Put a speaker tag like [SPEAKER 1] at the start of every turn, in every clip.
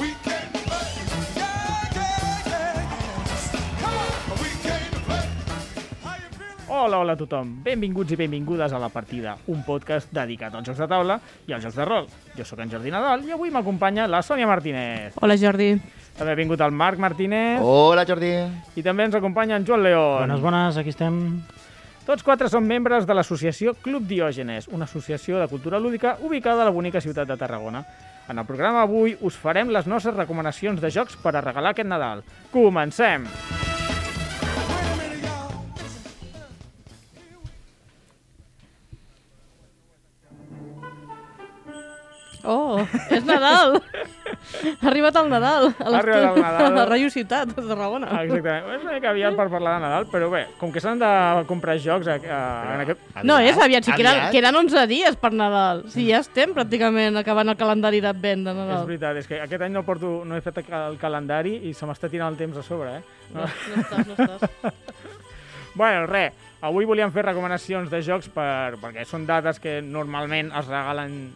[SPEAKER 1] We came to play. Yeah, yeah, yeah, yeah. Come on. We came to play. How you feeling?
[SPEAKER 2] Hola, hola a tothom. Benvinguts i benvingudes a La Partida, un podcast dedicat als jocs de taula i als jocs de rol. Jo sóc en Jordi Nadal i avui m'acompanya la Sònia Martínez.
[SPEAKER 3] Hola, Jordi.
[SPEAKER 2] També ha vingut el Marc Martínez
[SPEAKER 4] Hola, Jordi.
[SPEAKER 2] i també ens acompanya en Joan León.
[SPEAKER 5] Bones, bones, aquí estem.
[SPEAKER 2] Tots quatre són membres de l'associació Club Diògenes, una associació de cultura lúdica ubicada a la bonica ciutat de Tarragona. En el programa avui us farem les nostres recomanacions de jocs per a regalar aquest Nadal. Comencem!
[SPEAKER 3] Oh, és Nadal! ha arribat el Nadal. A
[SPEAKER 2] Ha arribat el
[SPEAKER 3] l'estudi-
[SPEAKER 2] Nadal.
[SPEAKER 3] A Ràdio Ciutat, de Tarragona.
[SPEAKER 2] Ah, Exactament. És una mica aviat per parlar de Nadal, però bé, com que s'han de comprar jocs eh, en aquest...
[SPEAKER 3] No, és aviat, si queden,
[SPEAKER 4] Aviat?
[SPEAKER 3] queden 11 dies per Nadal. Si ja estem pràcticament acabant el calendari d'advent de
[SPEAKER 2] És
[SPEAKER 3] Nadal.
[SPEAKER 2] veritat, és que aquest any no porto, no he fet el calendari i se m'està tirant el temps a sobre, eh?
[SPEAKER 3] No, no estàs, no estàs.
[SPEAKER 2] Bueno, res, avui volíem fer recomanacions de jocs per, perquè són dates que normalment es regalen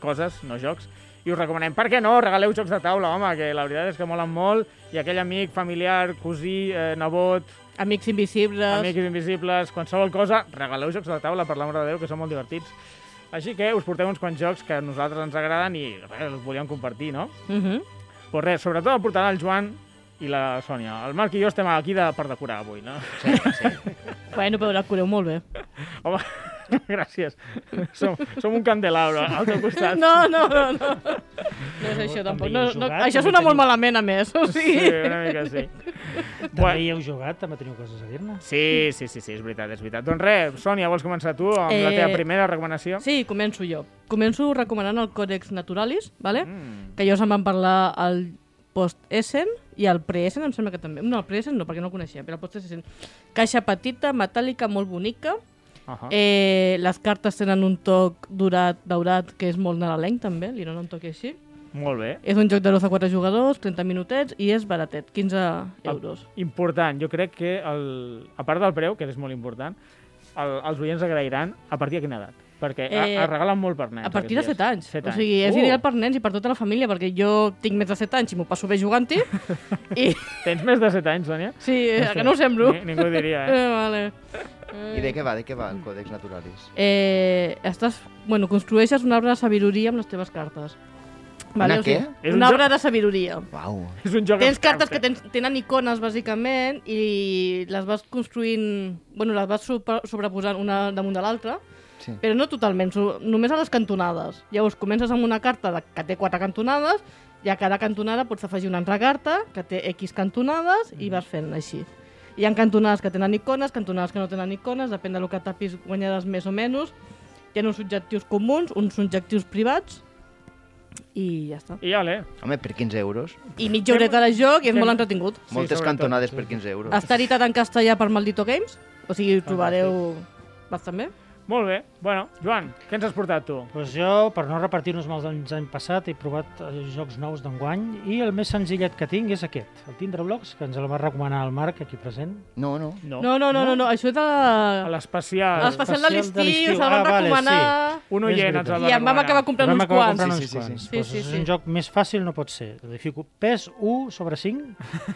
[SPEAKER 2] coses, no jocs, i us recomanem, per què no, regaleu jocs de taula, home, que la veritat és que molen molt i aquell amic, familiar, cosí, eh, nebot,
[SPEAKER 3] Amics invisibles.
[SPEAKER 2] amics invisibles, qualsevol cosa, regaleu jocs de taula, per l'amor de Déu, que són molt divertits. Així que us portem uns quants jocs que a nosaltres ens agraden i res, els volíem compartir, no?
[SPEAKER 3] Mhm.
[SPEAKER 2] Pues res, sobretot el portarà el Joan i la Sònia. El Marc i jo estem aquí de, per decorar avui, no?
[SPEAKER 3] Bueno, però la cureu molt bé.
[SPEAKER 2] Home, gràcies. Som, som un candelabro al teu costat.
[SPEAKER 3] No, no, no, no. No és això, tampoc. No, no, això sona molt malament, a més. O
[SPEAKER 2] Sí,
[SPEAKER 3] sigui...
[SPEAKER 2] una mica sí.
[SPEAKER 5] També
[SPEAKER 2] Bueno.
[SPEAKER 5] hi heu jugat, també teniu coses a dir-ne.
[SPEAKER 2] Sí, sí, sí, sí, és veritat, és veritat. Doncs res, Sònia, vols començar tu amb eh... la
[SPEAKER 3] Eh,
[SPEAKER 2] teva primera recomanació?
[SPEAKER 3] Sí, començo jo. Començo recomanant el Còdex Naturalis, ¿vale? Mm. que jo se'n van parlar al post-Essen i al pre-Essen, em sembla que també. No, el pre-Essen no, perquè no el coneixia, però el post-Essen. Caixa petita, metàl·lica, molt bonica.
[SPEAKER 2] Uh -huh. eh...
[SPEAKER 3] Eh, les cartes tenen un toc dorat, daurat, que és molt nadalenc, també, li dona un toc així.
[SPEAKER 2] Molt bé.
[SPEAKER 3] És un joc de 12 a 4 jugadors, 30 minutets, i és baratet, 15 euros.
[SPEAKER 2] Ah, Important, jo crec que, el, a part del preu, que és molt important, el, els oients agrairan a partir de quina edat? Perquè eh...
[SPEAKER 3] Eh,
[SPEAKER 2] es regalen molt per nens.
[SPEAKER 3] A partir de
[SPEAKER 2] aquests
[SPEAKER 3] 7
[SPEAKER 2] dies.
[SPEAKER 3] anys.
[SPEAKER 2] Set
[SPEAKER 3] O sigui, és
[SPEAKER 2] Uh!
[SPEAKER 3] ideal per nens i per tota la família, perquè jo tinc més de 7 anys i m'ho passo bé jugant-hi. I,
[SPEAKER 2] Tens més de 7 anys, Sònia?
[SPEAKER 3] sí, eh, que no ho semblo.
[SPEAKER 2] Ni, ningú ho diria, eh?
[SPEAKER 3] Eh, vale.
[SPEAKER 4] I de què va, de què va el Còdex Naturalis?
[SPEAKER 3] Eh, estàs, bueno, construeixes un arbre de sabidoria amb les teves cartes.
[SPEAKER 4] Una què?
[SPEAKER 2] És
[SPEAKER 3] sigui,
[SPEAKER 2] un
[SPEAKER 3] un
[SPEAKER 2] joc-
[SPEAKER 3] arbre de sabidoria.
[SPEAKER 4] Uau.
[SPEAKER 2] És un joc
[SPEAKER 3] Tens
[SPEAKER 2] amb
[SPEAKER 3] cartes que tens, tenen icones, bàsicament, i les vas construint... Bueno, les vas super, sobreposant una damunt de l'altra,
[SPEAKER 4] Sí.
[SPEAKER 3] però no totalment, so, només a les cantonades. Llavors, comences amb una carta de, que té quatre cantonades, i a cada cantonada pots afegir una altra carta que té X cantonades i vas fent així. Hi ha cantonades que tenen icones, cantonades que no tenen icones, depèn del que tapis guanyades més o menys. Hi ha uns objectius comuns, uns objectius privats, i ja està.
[SPEAKER 2] I ole.
[SPEAKER 4] Home, per 15 euros.
[SPEAKER 3] I mitja horeta de joc i és molt entretingut.
[SPEAKER 2] Sí,
[SPEAKER 4] Moltes
[SPEAKER 2] sobretot,
[SPEAKER 4] cantonades
[SPEAKER 2] sí,
[SPEAKER 4] per
[SPEAKER 2] sí.
[SPEAKER 4] 15 euros.
[SPEAKER 3] Està editat en castellà per Maldito Games, o
[SPEAKER 5] Ah,
[SPEAKER 3] sigui, ho trobareu bastant bé.
[SPEAKER 2] Molt bé. Bueno, Joan, què ens has portat tu?
[SPEAKER 5] Doncs jo, per no repartir-nos amb els anys l'any passat, he provat eh, jocs nous d'enguany i el més senzillet que tinc és aquest, el Tindre Blocks, que ens el va recomanar el Marc aquí present.
[SPEAKER 4] No, no.
[SPEAKER 3] No, no, no, no, no. això és de...
[SPEAKER 2] A l'especial.
[SPEAKER 3] l'especial de l'estiu,
[SPEAKER 5] l'estiu.
[SPEAKER 3] se'l van
[SPEAKER 5] Ah, vale,
[SPEAKER 3] recomanar...
[SPEAKER 2] Un
[SPEAKER 5] És
[SPEAKER 2] oient
[SPEAKER 5] veritat.
[SPEAKER 2] ens el va
[SPEAKER 3] I em vam
[SPEAKER 2] recomanar.
[SPEAKER 3] acabar comprant
[SPEAKER 5] Vam
[SPEAKER 3] uns
[SPEAKER 5] acabar
[SPEAKER 3] quants.
[SPEAKER 5] comprant
[SPEAKER 4] Sí, sí,
[SPEAKER 5] uns
[SPEAKER 4] sí,
[SPEAKER 5] quants.
[SPEAKER 3] sí.
[SPEAKER 5] Doncs
[SPEAKER 3] Sí, sí,
[SPEAKER 5] és
[SPEAKER 3] sí.
[SPEAKER 5] un joc més fàcil no pot ser. Li fico pes 1 sobre 5.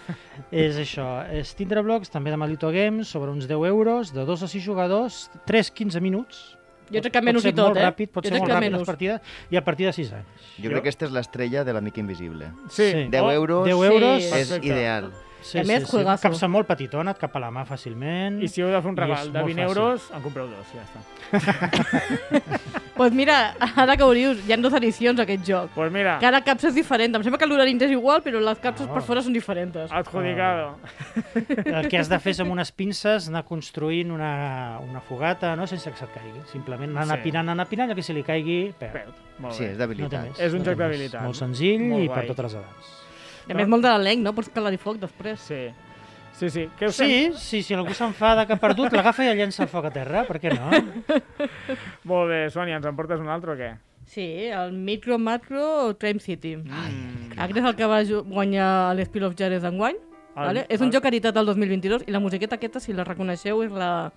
[SPEAKER 5] és això. És Tindre Blocks, també de Malito Games, sobre uns 10 euros, de 2 a 6 jugadors, 3-15 minuts.
[SPEAKER 3] Jo
[SPEAKER 5] Pot-
[SPEAKER 3] crec que menys
[SPEAKER 5] pot ser
[SPEAKER 3] i tot,
[SPEAKER 5] molt
[SPEAKER 3] eh?
[SPEAKER 5] Ràpid, pot
[SPEAKER 3] Jo
[SPEAKER 5] ser
[SPEAKER 3] crec
[SPEAKER 5] molt
[SPEAKER 3] que
[SPEAKER 5] ràpid
[SPEAKER 3] menys.
[SPEAKER 5] les partides i a partir de 6 anys.
[SPEAKER 4] Jo crec que aquesta és l'estrella de l'amic invisible.
[SPEAKER 2] Sí.
[SPEAKER 5] Sí.
[SPEAKER 4] 10 euros
[SPEAKER 5] 10
[SPEAKER 3] Oh, Sí.
[SPEAKER 5] euros
[SPEAKER 4] és
[SPEAKER 2] Perfecte.
[SPEAKER 4] ideal.
[SPEAKER 5] sí,
[SPEAKER 3] A més, juegazo.
[SPEAKER 5] Capsa molt petitona, et cap a la mà fàcilment.
[SPEAKER 2] I si heu de fer un
[SPEAKER 5] I
[SPEAKER 2] regal
[SPEAKER 5] és
[SPEAKER 2] de
[SPEAKER 5] molt
[SPEAKER 2] 20
[SPEAKER 5] fàcil.
[SPEAKER 2] euros, en compreu dos, ja està.
[SPEAKER 3] Doncs pues mira, ara que ho dius, hi ha dues edicions a aquest joc.
[SPEAKER 2] Doncs pues mira,
[SPEAKER 3] Cada capsa és diferent. Em sembla que l'horari és igual, però les capses
[SPEAKER 5] Ah.
[SPEAKER 3] per fora són diferents.
[SPEAKER 2] adjudicado.
[SPEAKER 5] El que has de fer és amb unes pinces anar construint una, una fogata, no? sense que se't caigui. Simplement anar
[SPEAKER 2] Sí.
[SPEAKER 5] sí. pinant, anar pinant, i que si li caigui, perd.
[SPEAKER 2] Perd. Molt
[SPEAKER 4] Sí,
[SPEAKER 2] bé.
[SPEAKER 4] és
[SPEAKER 5] No té
[SPEAKER 4] d'habilitat.
[SPEAKER 5] més.
[SPEAKER 2] És un
[SPEAKER 5] no té
[SPEAKER 2] joc
[SPEAKER 5] més.
[SPEAKER 2] d'habilitat.
[SPEAKER 5] Molt senzill
[SPEAKER 2] Molt
[SPEAKER 5] i per
[SPEAKER 2] guai.
[SPEAKER 5] totes les edats.
[SPEAKER 3] I a més, molt de l'elenc, no? Pots calar-hi foc després.
[SPEAKER 2] Sí. Sí, sí. Què us sembla?
[SPEAKER 5] Sí, sí, si algú s'enfada que ha perdut, l'agafa i el llença al foc a terra, per què no?
[SPEAKER 2] Molt bé, Sònia, ens en portes un altre o què?
[SPEAKER 3] Sí, el micro-macro Train City.
[SPEAKER 2] Mm.
[SPEAKER 3] Aquest és el que va ju- guanyar l'Spiel of Jares d'enguany.
[SPEAKER 2] El-
[SPEAKER 3] Vale? És un
[SPEAKER 2] el-
[SPEAKER 3] joc editat el 2022 i la musiqueta aquesta, si la reconeixeu, és la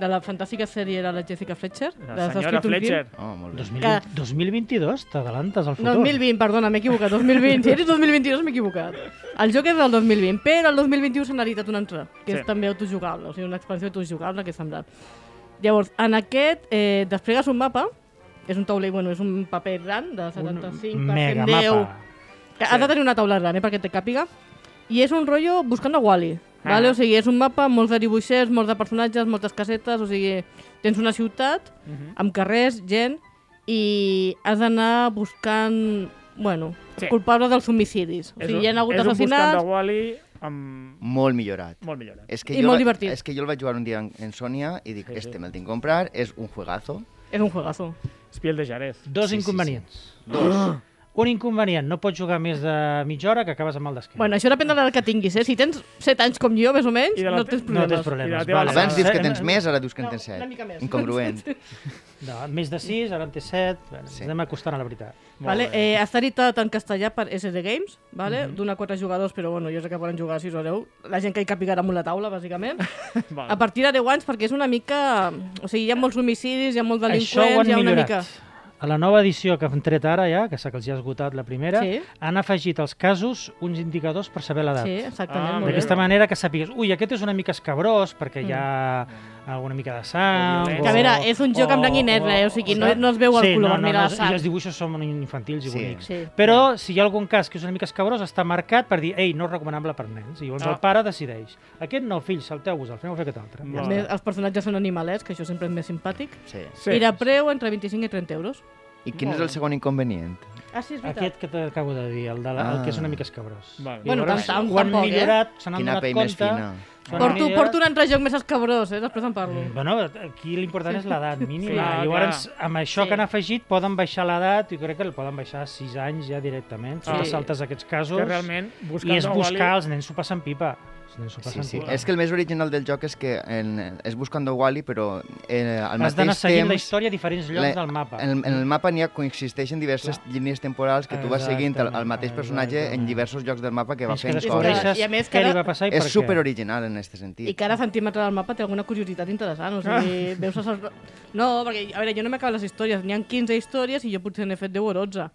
[SPEAKER 3] de la fantàstica sèrie de la Jessica Fletcher.
[SPEAKER 2] La
[SPEAKER 3] de
[SPEAKER 2] senyora
[SPEAKER 3] Saskatoon King.
[SPEAKER 2] Fletcher.
[SPEAKER 4] Oh, molt bé.
[SPEAKER 5] 2020, 2022, t'adalantes al futur.
[SPEAKER 3] 2020, perdona, m'he equivocat. 2020, si eres 2022 m'he equivocat. El joc és del 2020, però el 2021 s'ha editat una altra, que
[SPEAKER 2] Sí.
[SPEAKER 3] és també autojugable, o sigui, una expansió autojugable que és semblant. Llavors, en aquest, eh, desplegues un mapa, és un taulell, bueno, és un paper gran, de 75 per
[SPEAKER 5] mega
[SPEAKER 3] 110,
[SPEAKER 5] mapa.
[SPEAKER 3] que Has de tenir una taula gran, eh, perquè te càpiga. I és un rotllo buscant a Wally.
[SPEAKER 2] Ah.
[SPEAKER 3] Vale? O sigui, és un mapa, amb molts de dibuixers, molts de personatges, moltes casetes, o sigui, tens una ciutat
[SPEAKER 2] Mhm.
[SPEAKER 3] amb carrers, gent, i has d'anar buscant, bueno,
[SPEAKER 2] Sí.
[SPEAKER 3] culpables dels homicidis. O
[SPEAKER 2] És
[SPEAKER 3] sigui,
[SPEAKER 2] un-
[SPEAKER 3] hi ha hagut
[SPEAKER 2] És un buscant
[SPEAKER 3] assassinats...
[SPEAKER 2] de Wall-E amb...
[SPEAKER 4] Molt millorat.
[SPEAKER 2] molt millorat.
[SPEAKER 4] És que
[SPEAKER 3] I
[SPEAKER 4] jo
[SPEAKER 3] molt
[SPEAKER 4] la-
[SPEAKER 3] divertit.
[SPEAKER 4] És que jo el vaig jugar un dia en, en Sònia i dic,
[SPEAKER 2] Sí, sí.
[SPEAKER 4] este me'l tinc que comprar, és un juegazo.
[SPEAKER 3] És un juegazo.
[SPEAKER 2] Espiel de Jarez.
[SPEAKER 5] Dos
[SPEAKER 4] Sí, sí, sí.
[SPEAKER 5] inconvenients. Ah.
[SPEAKER 4] Dos.
[SPEAKER 5] Un inconvenient, no pots jugar més de mitja hora que acabes amb el d'esquena.
[SPEAKER 3] Bueno, això depèn de l'edat que tinguis, eh? Si tens 7 anys com jo, més o menys,
[SPEAKER 2] I de la
[SPEAKER 3] no
[SPEAKER 2] te-
[SPEAKER 3] tens
[SPEAKER 2] no
[SPEAKER 5] no
[SPEAKER 3] problemes.
[SPEAKER 5] tens problemes.
[SPEAKER 2] I la teva
[SPEAKER 5] vale.
[SPEAKER 4] Abans dius que
[SPEAKER 5] Eh,
[SPEAKER 4] tens
[SPEAKER 5] eh,
[SPEAKER 4] més, ara dius que en
[SPEAKER 3] No,
[SPEAKER 4] tens
[SPEAKER 3] una
[SPEAKER 4] set.
[SPEAKER 3] mica més.
[SPEAKER 4] Incongruent.
[SPEAKER 5] No, més de sis, ara en té set. Bueno,
[SPEAKER 4] Sí.
[SPEAKER 5] sí. Anem acostant a la veritat.
[SPEAKER 3] Vale, eh, està editat en castellà per SD Games, vale?
[SPEAKER 2] Mhm.
[SPEAKER 3] d'una a quatre jugadors, però bueno, jo sé que poden jugar 6 o 10. La gent que hi capigarà amunt la taula, bàsicament.
[SPEAKER 2] Vale.
[SPEAKER 3] A partir de 10 anys, perquè és una mica... O sigui, hi ha molts homicidis, hi ha molts delinqüents,
[SPEAKER 5] Això ho han
[SPEAKER 3] hi ha una
[SPEAKER 5] millorat.
[SPEAKER 3] mica...
[SPEAKER 5] A la nova edició que han tret ara ja, que sé que els hi ha esgotat la primera,
[SPEAKER 3] Sí.
[SPEAKER 5] han afegit als casos uns indicadors per saber l'edat.
[SPEAKER 3] Sí, exactament.
[SPEAKER 2] Ah,
[SPEAKER 3] molt bé.
[SPEAKER 5] D'aquesta manera que sàpigues, ui, aquest és una mica escabrós perquè hi ha
[SPEAKER 4] Mm.
[SPEAKER 5] alguna mica de sang...
[SPEAKER 2] Que,
[SPEAKER 5] o-
[SPEAKER 3] Que a veure, és un joc en
[SPEAKER 5] o-
[SPEAKER 3] blanc i negre, eh? o sigui, no, no es veu el
[SPEAKER 5] Oh, sí,
[SPEAKER 3] color,
[SPEAKER 5] no, no,
[SPEAKER 3] mira
[SPEAKER 5] no,
[SPEAKER 3] la sang.
[SPEAKER 5] I els dibuixos són infantils i
[SPEAKER 4] Sí.
[SPEAKER 5] bonics.
[SPEAKER 3] Sí.
[SPEAKER 5] Però si hi ha algun cas que és una mica escabrós, està marcat per dir, ei, no és recomanable per nens. I llavors
[SPEAKER 2] Ah.
[SPEAKER 5] el pare decideix, aquest no, fill, salteu-vos, el feu fer aquest altre.
[SPEAKER 2] Molt
[SPEAKER 3] A
[SPEAKER 5] Ja
[SPEAKER 3] més,
[SPEAKER 5] està.
[SPEAKER 3] els personatges són animalets, que això sempre és més simpàtic.
[SPEAKER 4] Sí.
[SPEAKER 2] Sí.
[SPEAKER 3] I de preu entre 25 i 30 euros.
[SPEAKER 4] I quin és el segon inconvenient?
[SPEAKER 3] Ah, sí, és veritat.
[SPEAKER 5] Aquest que t'acabo de dir, el, de la, el que és una mica escabrós.
[SPEAKER 2] Vale.
[SPEAKER 5] I
[SPEAKER 3] Bueno,
[SPEAKER 5] llavors
[SPEAKER 3] tant,
[SPEAKER 5] ho han
[SPEAKER 3] tampoc, eh?
[SPEAKER 5] millorat, se n'han
[SPEAKER 4] Ah. Quina
[SPEAKER 5] donat
[SPEAKER 4] pell més
[SPEAKER 5] compte...
[SPEAKER 4] fina.
[SPEAKER 5] se n'han
[SPEAKER 3] Porto,
[SPEAKER 5] millorat.
[SPEAKER 3] porto un altre joc més escabrós, eh? després en parlo.
[SPEAKER 5] Bueno, aquí l'important és l'edat mínima.
[SPEAKER 2] Clar,
[SPEAKER 5] Sí, Llavors, amb això
[SPEAKER 3] Sí.
[SPEAKER 5] sí. que han afegit, poden baixar l'edat, i crec que el poden baixar a 6 anys ja directament. Si
[SPEAKER 2] Sí.
[SPEAKER 5] sí. saltes aquests casos,
[SPEAKER 2] Que realment, buscant
[SPEAKER 5] i és
[SPEAKER 2] de
[SPEAKER 5] buscar,
[SPEAKER 2] Wall-E...
[SPEAKER 5] els nens s'ho passen pipa. Els nens s'ho
[SPEAKER 4] Sí,
[SPEAKER 5] passen
[SPEAKER 4] sí.
[SPEAKER 5] pipa.
[SPEAKER 4] És que el més original del joc és que en, és Buscando Wally, però eh, al
[SPEAKER 5] Has d'anar
[SPEAKER 4] mateix
[SPEAKER 5] seguint la
[SPEAKER 4] temps...
[SPEAKER 5] història a diferents llocs
[SPEAKER 4] la-
[SPEAKER 5] del mapa.
[SPEAKER 4] En, en el mapa n'hi ha, coexisteixen diverses
[SPEAKER 5] Clar.
[SPEAKER 4] línies temporals que tu vas seguint el, el
[SPEAKER 5] Exactament,
[SPEAKER 4] mateix personatge en
[SPEAKER 5] exactament.
[SPEAKER 4] diversos llocs del mapa que va
[SPEAKER 5] Fins que
[SPEAKER 4] fent
[SPEAKER 3] descobreixes
[SPEAKER 4] coses.
[SPEAKER 3] I
[SPEAKER 5] descobreixes
[SPEAKER 3] a més que
[SPEAKER 5] què li
[SPEAKER 3] ara-
[SPEAKER 5] va passar i per
[SPEAKER 4] És
[SPEAKER 5] què.
[SPEAKER 4] super original en aquest
[SPEAKER 3] I
[SPEAKER 4] sentit.
[SPEAKER 3] cada centímetre del mapa té alguna curiositat interessant.
[SPEAKER 5] Ah.
[SPEAKER 3] O sigui, veus a les... No, perquè, a veure, jo no m'acabo les històries. N'hi ha 15 històries i jo potser n'he fet 10 o 12.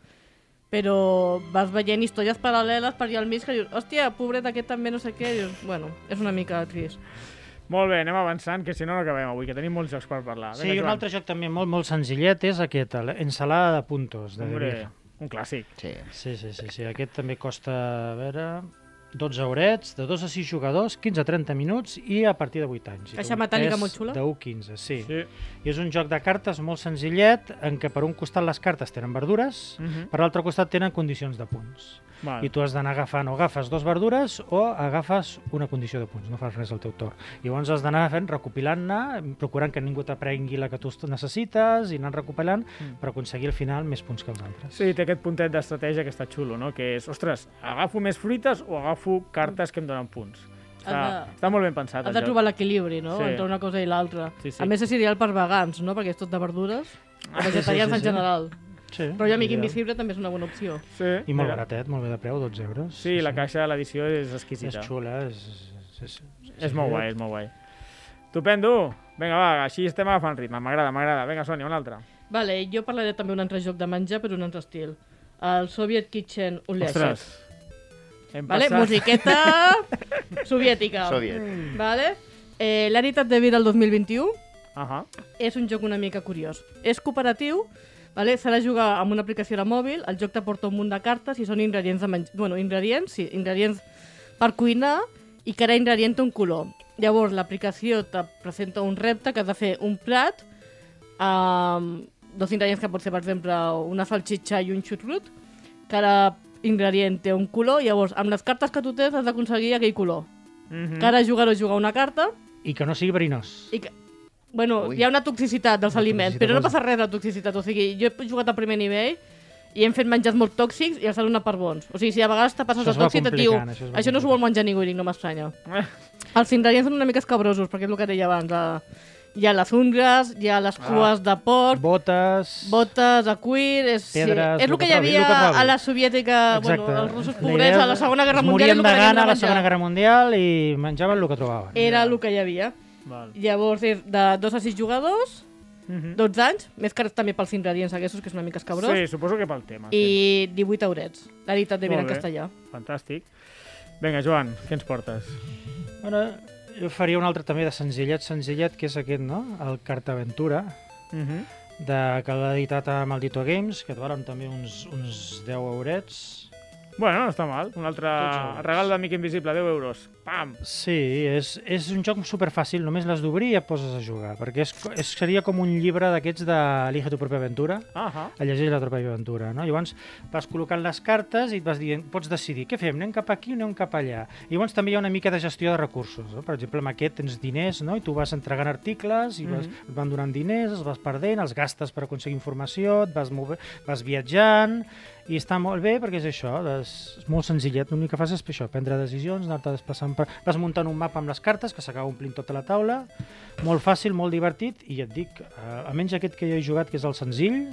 [SPEAKER 3] Però vas veient històries paral·leles per allà al mig que dius, hòstia, pobret, aquest també no sé què. I dius, bueno, és una mica trist.
[SPEAKER 2] Molt bé, anem avançant, que si no no acabem avui, que tenim molts jocs per parlar.
[SPEAKER 5] Sí, i un
[SPEAKER 2] Joan.
[SPEAKER 5] altre joc també molt, molt senzillet és aquest, l'ensalada de puntos. De
[SPEAKER 2] Hombre,
[SPEAKER 5] Devir.
[SPEAKER 2] un clàssic.
[SPEAKER 4] Sí.
[SPEAKER 5] Sí, sí, sí, sí. Aquest també costa, a veure, 12 horets, de 2 a 6 jugadors, 15 a 30 minuts i a partir de 8 anys. I
[SPEAKER 3] Caixa
[SPEAKER 5] d'un
[SPEAKER 3] metàl·lica
[SPEAKER 5] pes
[SPEAKER 3] molt xula.
[SPEAKER 5] De 1 a 15, sí. sí.
[SPEAKER 2] Sí.
[SPEAKER 5] I és un joc de cartes molt senzillet en què per un costat les cartes tenen verdures,
[SPEAKER 2] Mhm.
[SPEAKER 5] per l'altre costat tenen condicions de punts.
[SPEAKER 2] Val.
[SPEAKER 5] I tu has d'anar agafant o agafes dos verdures o agafes una condició de punts, no fas res al teu torn. Llavors has d'anar fent, recopilant-ne, procurant que ningú t'aprengui la que tu necessites i anant recopilant
[SPEAKER 2] Mm.
[SPEAKER 5] per aconseguir al final més punts que els altres.
[SPEAKER 2] Sí, té aquest puntet d'estratègia que està xulo, no? Que és, ostres, agafo més fruites o agafo cartes que em donen punts. Està,
[SPEAKER 3] Has de-
[SPEAKER 2] està molt ben pensat,
[SPEAKER 3] Has
[SPEAKER 2] el
[SPEAKER 3] de
[SPEAKER 2] joc.
[SPEAKER 3] trobar l'equilibri, no?,
[SPEAKER 2] Sí.
[SPEAKER 3] sí. entre una cosa i l'altra.
[SPEAKER 2] Sí, sí.
[SPEAKER 3] A més, és ideal per vegans, no?, perquè és tot de verdures. Vegetarians
[SPEAKER 5] sí, sí.
[SPEAKER 3] en general.
[SPEAKER 5] Sí,
[SPEAKER 3] Però jo, amic
[SPEAKER 5] ideal.
[SPEAKER 3] invisible, també és una bona opció.
[SPEAKER 2] Sí,
[SPEAKER 5] I molt
[SPEAKER 2] mira.
[SPEAKER 5] baratet, molt bé de preu, 12 euros.
[SPEAKER 2] Sí, la caixa de l'edició és
[SPEAKER 5] És
[SPEAKER 2] exquisita.
[SPEAKER 5] xula, és... És, és, és,
[SPEAKER 2] És molt guai, és molt guai. Estupendo! Vinga, va, així estem agafant ritme. M'agrada, m'agrada. Vinga, Sònia, un altre.
[SPEAKER 3] Vale, jo parlaré també d'un altre joc de menjar, però un altre estil. El Soviet Kitchen Unleashed.
[SPEAKER 2] Ostres! Hem
[SPEAKER 3] Vale? Musiqueta soviètica.
[SPEAKER 4] Soviet.
[SPEAKER 3] Vale? Eh, L'Hàbitat de Vida el 2021
[SPEAKER 2] Ahà.
[SPEAKER 3] és un joc una mica curiós. És cooperatiu, vale? s'ha de jugar amb una aplicació de mòbil, el joc t'aporta un munt de cartes i són ingredients de menjar... Bueno, ingredients, sí, ingredients per cuinar i cada ingredient té un color. Llavors, l'aplicació te presenta un repte que has de fer un plat amb dos ingredients que pot ser, per exemple, una salxitxa i un xutrut. Cada ingredient té un color, llavors, amb les cartes que tu tens has d'aconseguir aquell color.
[SPEAKER 2] Mhm.
[SPEAKER 3] Cada jugador juga una carta
[SPEAKER 5] I que no sigui verinós.
[SPEAKER 3] i que... Bueno,
[SPEAKER 4] Ui.
[SPEAKER 3] hi ha una toxicitat dels
[SPEAKER 5] Una
[SPEAKER 3] aliments,
[SPEAKER 5] toxicitat
[SPEAKER 3] però no
[SPEAKER 5] dels-
[SPEAKER 3] passa res de toxicitat. O sigui, jo he jugat a primer nivell i hem fet menjars molt tòxics i els han donat per bons. O sigui, si a vegades te passes de
[SPEAKER 5] Això es va
[SPEAKER 3] tòxic, et diu,
[SPEAKER 5] complicant, això
[SPEAKER 3] això,
[SPEAKER 5] es va
[SPEAKER 3] no s'ho vol menjar ningú, i dic, no m'estranya. Els ingredients són una mica escabrosos, perquè és el que deia abans. Eh? Hi ha les ungles, hi ha les cues de porc,
[SPEAKER 5] Botes...
[SPEAKER 3] botes a cuir... És,
[SPEAKER 5] Pedres,
[SPEAKER 3] sí. és
[SPEAKER 5] el
[SPEAKER 3] el que
[SPEAKER 5] que
[SPEAKER 3] hi
[SPEAKER 5] trobi, el
[SPEAKER 3] havia
[SPEAKER 5] que trobi.
[SPEAKER 3] a la soviètica,
[SPEAKER 5] Exacte.
[SPEAKER 3] ah, bueno, els russos
[SPEAKER 5] La
[SPEAKER 3] pobrets,
[SPEAKER 5] idea
[SPEAKER 3] a la Segona Guerra
[SPEAKER 5] es
[SPEAKER 3] Mundial...
[SPEAKER 5] Morien
[SPEAKER 3] és el
[SPEAKER 5] de
[SPEAKER 3] que tenien
[SPEAKER 5] gana a la
[SPEAKER 3] menjar.
[SPEAKER 5] Segona Guerra Mundial i menjaven el que trobaven.
[SPEAKER 3] Era el que hi havia.
[SPEAKER 2] Mhm. Val.
[SPEAKER 3] Llavors, és de 2 a 6 jugadors,
[SPEAKER 2] Mhm.
[SPEAKER 3] 12 anys, més que res també pels ingredients aquests, que és una mica escabrós,
[SPEAKER 2] Sí, suposo que pel tema. sí.
[SPEAKER 3] i 18 eurets. La veritat de
[SPEAKER 2] Molt
[SPEAKER 3] en
[SPEAKER 2] bé.
[SPEAKER 3] castellà.
[SPEAKER 2] Fantàstic. Vinga, Joan, què ens portes?
[SPEAKER 5] Bueno, jo faria un altre també de senzillet, senzillet, que és aquest, no? El Cartaventura,
[SPEAKER 2] Uh -huh.
[SPEAKER 5] Mhm. de, que l'ha editat a Maldito Games, que et valen també uns, uns 10 eurets.
[SPEAKER 2] Bueno, no està mal. Un altre
[SPEAKER 5] Tots junts.
[SPEAKER 2] regal d'amic invisible, 10 euros. Pam!
[SPEAKER 5] Sí, és, és un joc superfàcil, només l'has d'obrir i et poses a jugar, perquè és, co- és, seria com un llibre d'aquests de Elige tu pròpia aventura,
[SPEAKER 2] Ahà.
[SPEAKER 5] a llegir la tropa i aventura, no? Llavors vas col·locant les cartes i et vas dient, pots decidir, què fem, anem cap aquí o anem cap allà? I llavors també hi ha una mica de gestió de recursos, no? Per exemple, amb aquest tens diners, no? I tu vas entregant articles, i vas, et van donant diners, els vas perdent, els gastes per aconseguir informació, et vas, mover, vas viatjant, i està molt bé perquè és això, és molt senzillet, l'únic que fas és això, prendre decisions, anar-te desplaçant, per... vas muntant un mapa amb les cartes que s'acaba omplint tota la taula, molt fàcil, molt divertit, i et dic, eh, a menys aquest que jo he jugat, que és el senzill,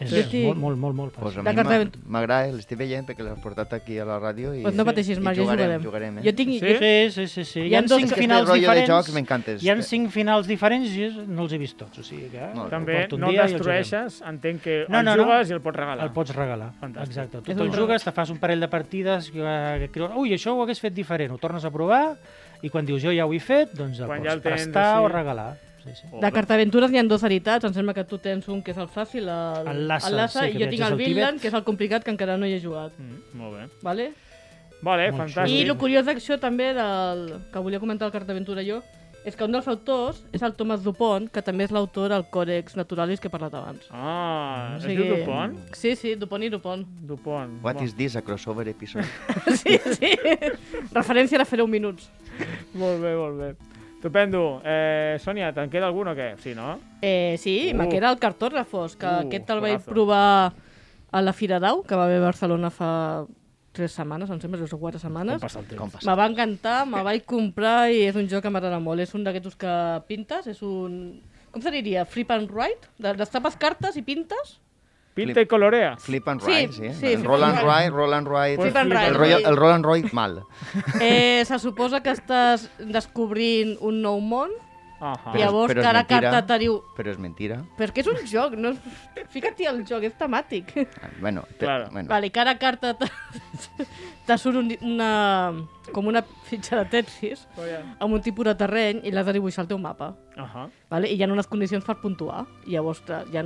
[SPEAKER 5] és
[SPEAKER 3] Jo estic-
[SPEAKER 5] molt, molt, molt, molt
[SPEAKER 4] Pues
[SPEAKER 5] fàcil.
[SPEAKER 4] a
[SPEAKER 3] De
[SPEAKER 4] mi
[SPEAKER 3] carta-
[SPEAKER 4] m'a- m'agrada, eh, l'estic veient perquè l'has portat aquí a la ràdio i,
[SPEAKER 3] Pues no pateixis, Marc,
[SPEAKER 4] i
[SPEAKER 3] ja
[SPEAKER 4] jugarem.
[SPEAKER 3] jugarem.
[SPEAKER 4] jugarem eh?
[SPEAKER 3] Jo tinc...
[SPEAKER 2] Sí?
[SPEAKER 3] Sí?
[SPEAKER 5] Sí, sí, sí, sí.
[SPEAKER 3] Hi
[SPEAKER 5] Hi ha
[SPEAKER 3] ha dos
[SPEAKER 5] cinc
[SPEAKER 3] que-
[SPEAKER 4] Aquest
[SPEAKER 5] finals
[SPEAKER 4] rotllo de jocs
[SPEAKER 5] diferents.
[SPEAKER 4] m'encanta. és-
[SPEAKER 5] Hi ha cinc finals diferents i és- no els he vist tots, o sigui que...
[SPEAKER 4] Molt bé.
[SPEAKER 2] També
[SPEAKER 5] porto un
[SPEAKER 2] no el
[SPEAKER 5] dia i el
[SPEAKER 2] destrueixes, entenc que
[SPEAKER 5] No,
[SPEAKER 2] no,
[SPEAKER 5] no,
[SPEAKER 2] el
[SPEAKER 5] no.
[SPEAKER 2] jugues i el pots regalar.
[SPEAKER 5] El pots regalar.
[SPEAKER 2] Fantàstic.
[SPEAKER 5] Exacte. Tu
[SPEAKER 3] És
[SPEAKER 5] te'l
[SPEAKER 3] un
[SPEAKER 5] jugues, te fas un parell de partides que, que creus, ui, això ho hagués fet diferent, ho tornes a provar i quan dius jo ja ho he fet, doncs el
[SPEAKER 2] Quan ja
[SPEAKER 5] pots
[SPEAKER 2] el tens,
[SPEAKER 5] prestar
[SPEAKER 2] sí.
[SPEAKER 5] o regalar. Sí, sí.
[SPEAKER 3] De Cartaventures n'hi ha dues veritats, em sembla que tu tens un que és el fàcil, el,
[SPEAKER 5] El Lhasa,
[SPEAKER 3] el Lhasa
[SPEAKER 5] sí, que
[SPEAKER 3] i jo tinc
[SPEAKER 5] viatges
[SPEAKER 3] el
[SPEAKER 5] al Tibet.
[SPEAKER 3] Vinland, que és el complicat, que encara no hi he jugat.
[SPEAKER 2] Mm, molt bé.
[SPEAKER 3] Vale?
[SPEAKER 2] Vale,
[SPEAKER 5] Molt
[SPEAKER 2] fantàstic.
[SPEAKER 3] I
[SPEAKER 5] xulo.
[SPEAKER 3] el curiós d'acció també, del, que volia comentar el Cartaventura jo, és que un dels autors és el Thomas Dupont, que també és l'autor del Còdex Naturalis que he parlat abans.
[SPEAKER 2] Ah,
[SPEAKER 3] O
[SPEAKER 2] es
[SPEAKER 3] sigui-
[SPEAKER 2] diu Dupont?
[SPEAKER 3] Sí, sí, Dupont i Dupont.
[SPEAKER 2] Dupont.
[SPEAKER 4] What
[SPEAKER 2] Mo-
[SPEAKER 4] is this, a crossover episode?
[SPEAKER 3] Sí, sí. Referència a la fer 10 minuts.
[SPEAKER 2] Molt bé, molt bé. Estupendo. Eh, Sònia, te'n queda algun o què? Sí, no?
[SPEAKER 3] Eh, sí,
[SPEAKER 2] Uh.
[SPEAKER 3] uh. me queda el cartògrafos, que
[SPEAKER 2] Uh,
[SPEAKER 3] uh, aquest el vaig
[SPEAKER 2] jorazo.
[SPEAKER 3] provar a la Fira d'Au, que va haver a Barcelona fa 3 setmanes, em sembla, 3 o 4 setmanes.
[SPEAKER 2] Passa el temps.
[SPEAKER 4] Com passa?
[SPEAKER 3] Me va encantar, me vaig comprar i és un joc que m'agrada molt. És un d'aquests que pintes, és un... Com se diria? Flip and write? De- Destapes cartes i pintes?
[SPEAKER 2] Pinta i colorea.
[SPEAKER 4] Flip and
[SPEAKER 3] Sí,
[SPEAKER 4] Ride, sí.
[SPEAKER 3] sí,
[SPEAKER 4] en
[SPEAKER 3] Flip
[SPEAKER 4] roll
[SPEAKER 3] and
[SPEAKER 4] and
[SPEAKER 3] Ride.
[SPEAKER 4] Ride, roll and Ride.
[SPEAKER 2] Pues
[SPEAKER 3] Flip and
[SPEAKER 4] el,
[SPEAKER 3] Ride,
[SPEAKER 4] rotllo,
[SPEAKER 3] sí.
[SPEAKER 4] el roll and Ride mal.
[SPEAKER 3] Eh, se suposa que estàs descobrint un nou món,
[SPEAKER 2] Ahà.
[SPEAKER 4] Però-
[SPEAKER 3] llavors
[SPEAKER 4] però és
[SPEAKER 3] cada
[SPEAKER 4] mentira.
[SPEAKER 3] carta te diu...
[SPEAKER 4] Però és mentira.
[SPEAKER 3] Però és que és un joc, no? Fica't-hi al joc, és temàtic.
[SPEAKER 4] Ah, Bueno, te,
[SPEAKER 2] Claro.
[SPEAKER 4] bueno.
[SPEAKER 3] Vale, cada carta te, te surt un, una, com una fitxa de Tetris amb un tipus de terreny i l'has de dibuixar al teu mapa.
[SPEAKER 2] Ahà.
[SPEAKER 3] Vale? I hi ha unes condicions per puntuar. I Llavors, tra- hi ha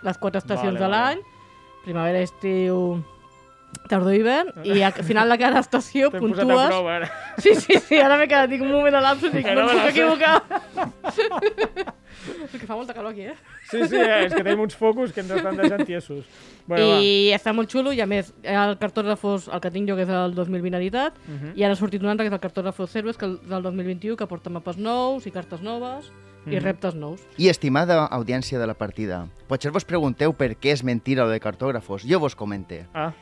[SPEAKER 3] les quatre
[SPEAKER 2] Vale,
[SPEAKER 3] estacions de
[SPEAKER 2] vale.
[SPEAKER 3] l'any, primavera, estiu, tardor i hivern, i al final de cada estació
[SPEAKER 2] T'hem posat a
[SPEAKER 3] puntues...
[SPEAKER 2] prova, ara.
[SPEAKER 3] Sí, sí, sí, ara m'he quedat, tinc un moment de lapsus i
[SPEAKER 2] Que
[SPEAKER 3] no
[SPEAKER 2] no me
[SPEAKER 3] em
[SPEAKER 2] la
[SPEAKER 3] puc
[SPEAKER 2] sé.
[SPEAKER 3] equivocar. És que fa molta calor aquí, eh?
[SPEAKER 2] Sí, sí, eh, és que tenim uns focus que ens estan deixant tiesos. Bueno, I...
[SPEAKER 3] I està molt xulo, i a més, el cartògrafos, el que tinc jo, que és del 2020 editat,
[SPEAKER 2] Mhm.
[SPEAKER 3] i ara ha sortit un altre, que és el cartògrafos Cerves, que és del 2021, que porta mapes nous i cartes noves
[SPEAKER 2] Mhm.
[SPEAKER 3] i reptes nous.
[SPEAKER 4] I estimada audiència de la partida, potser vos pregunteu per què és mentira el de cartògrafos. Jo vos comente.
[SPEAKER 2] va. Ah,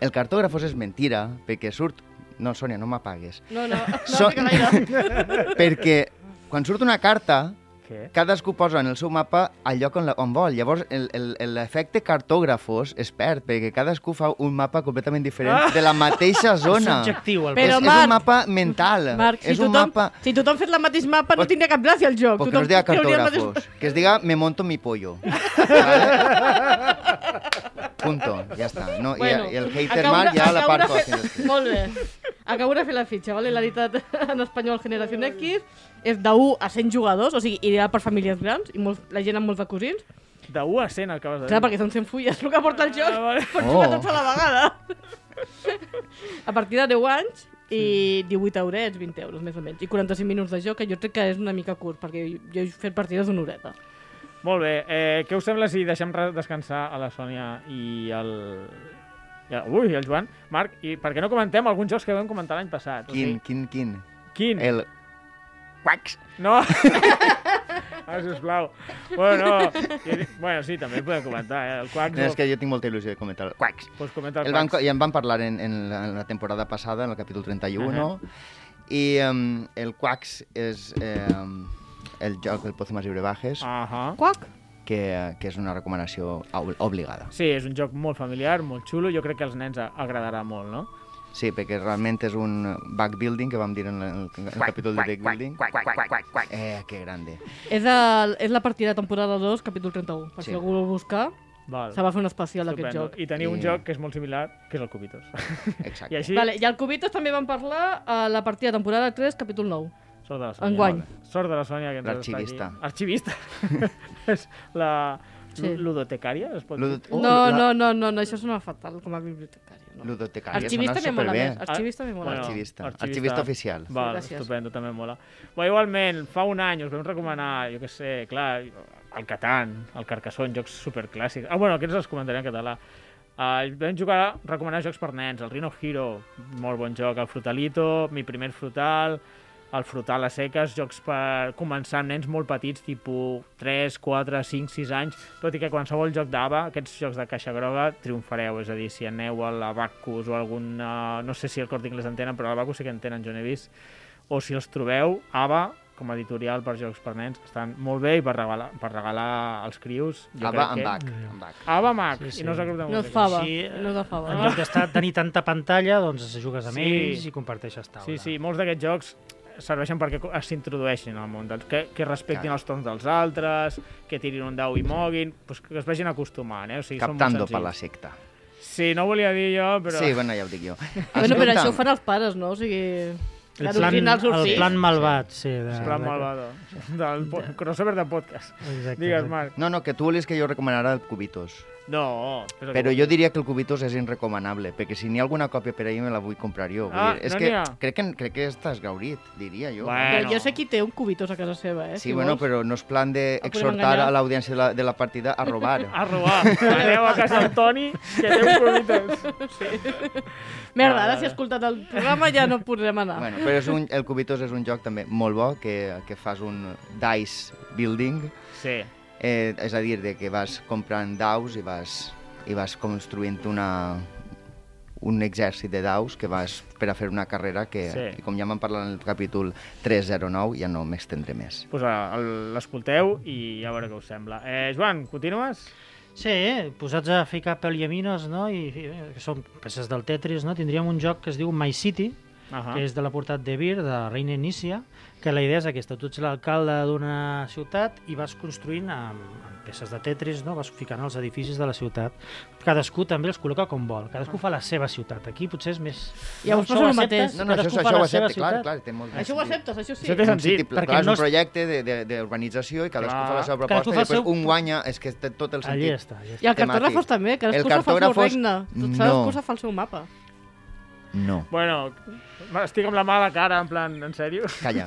[SPEAKER 4] El cartògrafos és mentira perquè surt... No, Sònia, no m'apagues.
[SPEAKER 3] No, no, no, so...
[SPEAKER 4] So-
[SPEAKER 3] que gaire.
[SPEAKER 4] perquè quan surt una carta,
[SPEAKER 2] què?
[SPEAKER 4] cadascú posa en el seu mapa el lloc on, la, on vol. Llavors, el- el- el- l'efecte cartògrafos es perd, perquè cadascú fa un mapa completament diferent
[SPEAKER 3] Ah.
[SPEAKER 4] de la mateixa zona.
[SPEAKER 5] Subjectiu, el
[SPEAKER 3] Però-
[SPEAKER 4] és, és
[SPEAKER 3] Marc-
[SPEAKER 4] un mapa mental.
[SPEAKER 3] Marc, si
[SPEAKER 4] és un
[SPEAKER 3] tothom,
[SPEAKER 4] mapa...
[SPEAKER 3] si tothom fes el mateix mapa no
[SPEAKER 4] Pues-
[SPEAKER 3] tindria cap gràcia el joc.
[SPEAKER 4] Pues que
[SPEAKER 3] tothom
[SPEAKER 4] no es diga
[SPEAKER 3] trauria el mateix-
[SPEAKER 4] cartógrafos, que es diga me monto mi pollo. Vale? Punto, ja està. No,
[SPEAKER 3] Bueno,
[SPEAKER 4] i, I el hater
[SPEAKER 3] acabo de-
[SPEAKER 4] Marc ja
[SPEAKER 3] acabo de
[SPEAKER 4] l'aparto.
[SPEAKER 3] fer-
[SPEAKER 4] aquí després.
[SPEAKER 3] Molt bé. Acabo de fer la fitxa, vale? l'editat en espanyol Generació X és de 1 a 100 jugadors, o sigui, ideal per famílies grans i molts, la gent amb molts de cosins.
[SPEAKER 2] De 1 a 100 acabes de dir.
[SPEAKER 3] Clar, perquè són 100 fulles el que porta el joc.
[SPEAKER 2] Ah, vale.
[SPEAKER 3] Pots jugar
[SPEAKER 4] Oh.
[SPEAKER 3] tots a la vegada. A partir de 10 anys i 18 horets, 20 euros, més o menys. I 45 minuts de joc, que jo crec que és una mica curt, perquè jo he fet partides d'una horeta.
[SPEAKER 2] Molt bé, eh, què us sembla si deixem re- descansar a la Sònia i el... i el- Ui, el Joan. Marc, i per què no comentem alguns jocs que vam comentar l'any passat?
[SPEAKER 4] Quin, quin, quin?
[SPEAKER 2] O sigui, quin? El...
[SPEAKER 4] El... Quacs.
[SPEAKER 2] No! ah, sisplau. Bueno, no. I- Bueno, sí, també podem comentar, eh? El Quax...
[SPEAKER 4] No, és que jo tinc molta il·lusió de comentar. Quacs.
[SPEAKER 2] Pots comentar el,
[SPEAKER 4] El
[SPEAKER 2] el
[SPEAKER 4] van,
[SPEAKER 2] Quax.
[SPEAKER 4] ja en van parlar en, en, la, en la temporada passada, en el capítol 31, uh -huh. i um, el Quax és... Eh, el joc del Pozo más Libre Bajes,
[SPEAKER 3] Ah.
[SPEAKER 2] Ahà.
[SPEAKER 3] Quac?
[SPEAKER 4] que, que és una recomanació ob- obligada.
[SPEAKER 2] Sí, és un joc molt familiar, molt xulo, jo crec que als nens a- agradarà molt, no?
[SPEAKER 4] Sí, perquè realment és un backbuilding, que vam dir en el, en el capítol de deckbuilding. Eh, que grande.
[SPEAKER 3] És, el, és la partida de temporada 2, capítol 31. Per
[SPEAKER 4] Sí.
[SPEAKER 3] si algú el vol buscar,
[SPEAKER 2] Val.
[SPEAKER 3] se va fer un especial d'aquest
[SPEAKER 2] Estupendo.
[SPEAKER 3] joc.
[SPEAKER 2] I teniu un
[SPEAKER 4] I-
[SPEAKER 2] joc que és molt similar, que és el Cubitos.
[SPEAKER 4] Exacte.
[SPEAKER 2] I així,
[SPEAKER 3] Vale, I al Cubitos també vam parlar a la partida de temporada 3, capítol 9.
[SPEAKER 2] sort de la Sònia.
[SPEAKER 3] Enguany.
[SPEAKER 2] Vale. Sort de la Sònia que ens està
[SPEAKER 4] L'arxivista.
[SPEAKER 2] aquí. Arxivista. és la
[SPEAKER 3] Sí.
[SPEAKER 2] ludotecària, es pot dir?
[SPEAKER 4] Ludo- oh,
[SPEAKER 3] no,
[SPEAKER 4] la-
[SPEAKER 3] no, no, no, no, això sona fatal com a bibliotecari. No.
[SPEAKER 4] Ludotecària,
[SPEAKER 3] Arxivista me
[SPEAKER 4] sona
[SPEAKER 3] mola
[SPEAKER 4] superbé. Ah,
[SPEAKER 3] més. Arxivista me mola
[SPEAKER 4] Bueno,
[SPEAKER 3] més.
[SPEAKER 4] Arxivista. Arxivista oficial. Sí,
[SPEAKER 2] Val,
[SPEAKER 3] gràcies.
[SPEAKER 2] estupendo, també mola. Bé, igualment, fa un any us vam recomanar, jo què sé, clar, el Catan, el Carcassonne, jocs superclàssics. Ah, bueno, aquests els comentaré en català. Uh, vam jugar, recomanar jocs per nens, el Rhino Hero, molt bon joc, el Frutalito, Mi primer frutal, el frutal a seques, jocs per començar amb nens molt petits, tipus 3, 4, 5, 6 anys, tot i que qualsevol joc d'ABA, aquests jocs de caixa groga, triomfareu, és a dir, si aneu a l'Abacus o algun... eh, no sé si el Corte Inglés en tenen, però l'Abacus sí que en tenen, jo n'he vist, o si els trobeu, ABA, com a editorial per jocs per nens, estan molt bé i per regalar, per regalar als crius. Jo
[SPEAKER 4] Ava
[SPEAKER 2] crec
[SPEAKER 4] amb
[SPEAKER 2] que...
[SPEAKER 4] Bach. Amb Bach.
[SPEAKER 2] ABA Mac,
[SPEAKER 5] Sí, sí.
[SPEAKER 2] i no és el grup de
[SPEAKER 3] No és
[SPEAKER 2] música.
[SPEAKER 3] fava,
[SPEAKER 5] Sí, eh,
[SPEAKER 3] no és de fava.
[SPEAKER 5] En lloc d'estar tenir tanta pantalla, doncs jugues amb
[SPEAKER 2] Sí.
[SPEAKER 5] ells i comparteixes taula.
[SPEAKER 2] Sí, sí, molts d'aquests jocs serveixen perquè co- s'introdueixin al món, dels, que, que respectin
[SPEAKER 4] Clar.
[SPEAKER 2] els torns dels altres, que tirin un dau i moguin, pues que es vagin acostumant, eh? O sigui,
[SPEAKER 4] Captando
[SPEAKER 2] són
[SPEAKER 4] per
[SPEAKER 2] molt
[SPEAKER 4] la
[SPEAKER 2] senzills.
[SPEAKER 4] secta.
[SPEAKER 2] Sí, no ho volia dir jo, però...
[SPEAKER 4] Sí, bueno, ja ho dic jo.
[SPEAKER 3] Bueno, però això ho
[SPEAKER 4] Escolta'm,
[SPEAKER 3] fan els pares, no? O sigui...
[SPEAKER 5] El
[SPEAKER 3] l'original
[SPEAKER 5] plan,
[SPEAKER 3] surt
[SPEAKER 5] el
[SPEAKER 3] sí.
[SPEAKER 5] plan malvat, sí. De,
[SPEAKER 2] El plan
[SPEAKER 5] de-
[SPEAKER 2] malvado. Del po- crossover de podcast.
[SPEAKER 5] Exacte,
[SPEAKER 2] Digues,
[SPEAKER 5] exacte.
[SPEAKER 2] Marc.
[SPEAKER 4] No, no, que tu volies que jo recomanara el Cubitos.
[SPEAKER 2] No. Però,
[SPEAKER 4] Però jo diria que el Cubitos és inrecomanable, perquè si n'hi ha alguna còpia per ahir me la vull comprar jo. Vull
[SPEAKER 2] Ah,
[SPEAKER 4] dir, és
[SPEAKER 2] no n'hi
[SPEAKER 4] que,
[SPEAKER 2] ha.
[SPEAKER 4] crec que crec que està esgaurit, diria jo.
[SPEAKER 2] Bueno.
[SPEAKER 3] Però jo sé qui té un cubitos a casa seva, eh?
[SPEAKER 4] Sí, bueno,
[SPEAKER 3] vols.
[SPEAKER 4] però no és plan
[SPEAKER 3] podem
[SPEAKER 4] d'exhortar
[SPEAKER 3] enganyar.
[SPEAKER 4] a l'audiència de, la, de la partida a robar.
[SPEAKER 2] A robar. Aneu a casa del Toni, que té un producte. Vale,
[SPEAKER 3] Merda, ara
[SPEAKER 2] vale.
[SPEAKER 3] si ha escoltat el programa ja no podrem anar.
[SPEAKER 4] Bueno, però és un, el Cubitos és un joc també molt bo, que, que fas un dice building,
[SPEAKER 2] Sí.
[SPEAKER 4] eh, és a dir, de que vas comprant daus i vas, i vas construint una, un exèrcit de daus que vas per a fer una carrera que,
[SPEAKER 2] Sí.
[SPEAKER 4] sí. com ja vam parlar en el capítol 309, ja no m'extendré més.
[SPEAKER 2] Pues ah, el- l'escolteu i ja veureu què us sembla. Eh, Joan, continues?
[SPEAKER 5] Sí, eh, posats a ficar peliamines, no? I, i eh, que són peces del Tetris, no? Tindríem un joc que es diu My City,
[SPEAKER 2] Ahà.
[SPEAKER 5] que és de la portat de Bir, de Reina Nícia, que la idea és aquesta, tu ets l'alcalde d'una ciutat i vas construint amb, amb peces de Tetris, no? vas ficant els edificis de la ciutat. Cadascú també els col·loca com vol, cadascú fa la seva ciutat. Aquí potser és més...
[SPEAKER 3] Llavors
[SPEAKER 5] Això
[SPEAKER 3] passa el
[SPEAKER 5] acceptes?
[SPEAKER 3] mateix.
[SPEAKER 4] No, no, això,
[SPEAKER 5] Cadascú fa
[SPEAKER 4] això ho
[SPEAKER 5] la seva
[SPEAKER 4] accepte, clar,
[SPEAKER 5] ciutat.
[SPEAKER 4] clar, té molt
[SPEAKER 3] Això ho acceptes, això sí.
[SPEAKER 2] Això té
[SPEAKER 4] un city,
[SPEAKER 2] sentit.
[SPEAKER 4] pla-
[SPEAKER 5] perquè
[SPEAKER 4] clar, és
[SPEAKER 5] no
[SPEAKER 4] un
[SPEAKER 5] és-
[SPEAKER 4] projecte de- de- d'urbanització i cadascú
[SPEAKER 2] Clar.
[SPEAKER 4] fa la seva
[SPEAKER 5] Cadascú
[SPEAKER 4] proposta i
[SPEAKER 5] fa el
[SPEAKER 4] després
[SPEAKER 5] seu-
[SPEAKER 4] un guanya, és que té tot el sentit.
[SPEAKER 5] Allí està, allí està.
[SPEAKER 3] I el
[SPEAKER 4] temàtic.
[SPEAKER 3] cartògrafos també,
[SPEAKER 4] El
[SPEAKER 3] cadascú se fa el seu
[SPEAKER 4] cartògrafos,
[SPEAKER 3] regne.
[SPEAKER 4] no.
[SPEAKER 3] Cadascú se fa el seu mapa.
[SPEAKER 4] No,
[SPEAKER 2] Bueno, estic amb la mala cara, en plan, en sèrio?
[SPEAKER 4] calla.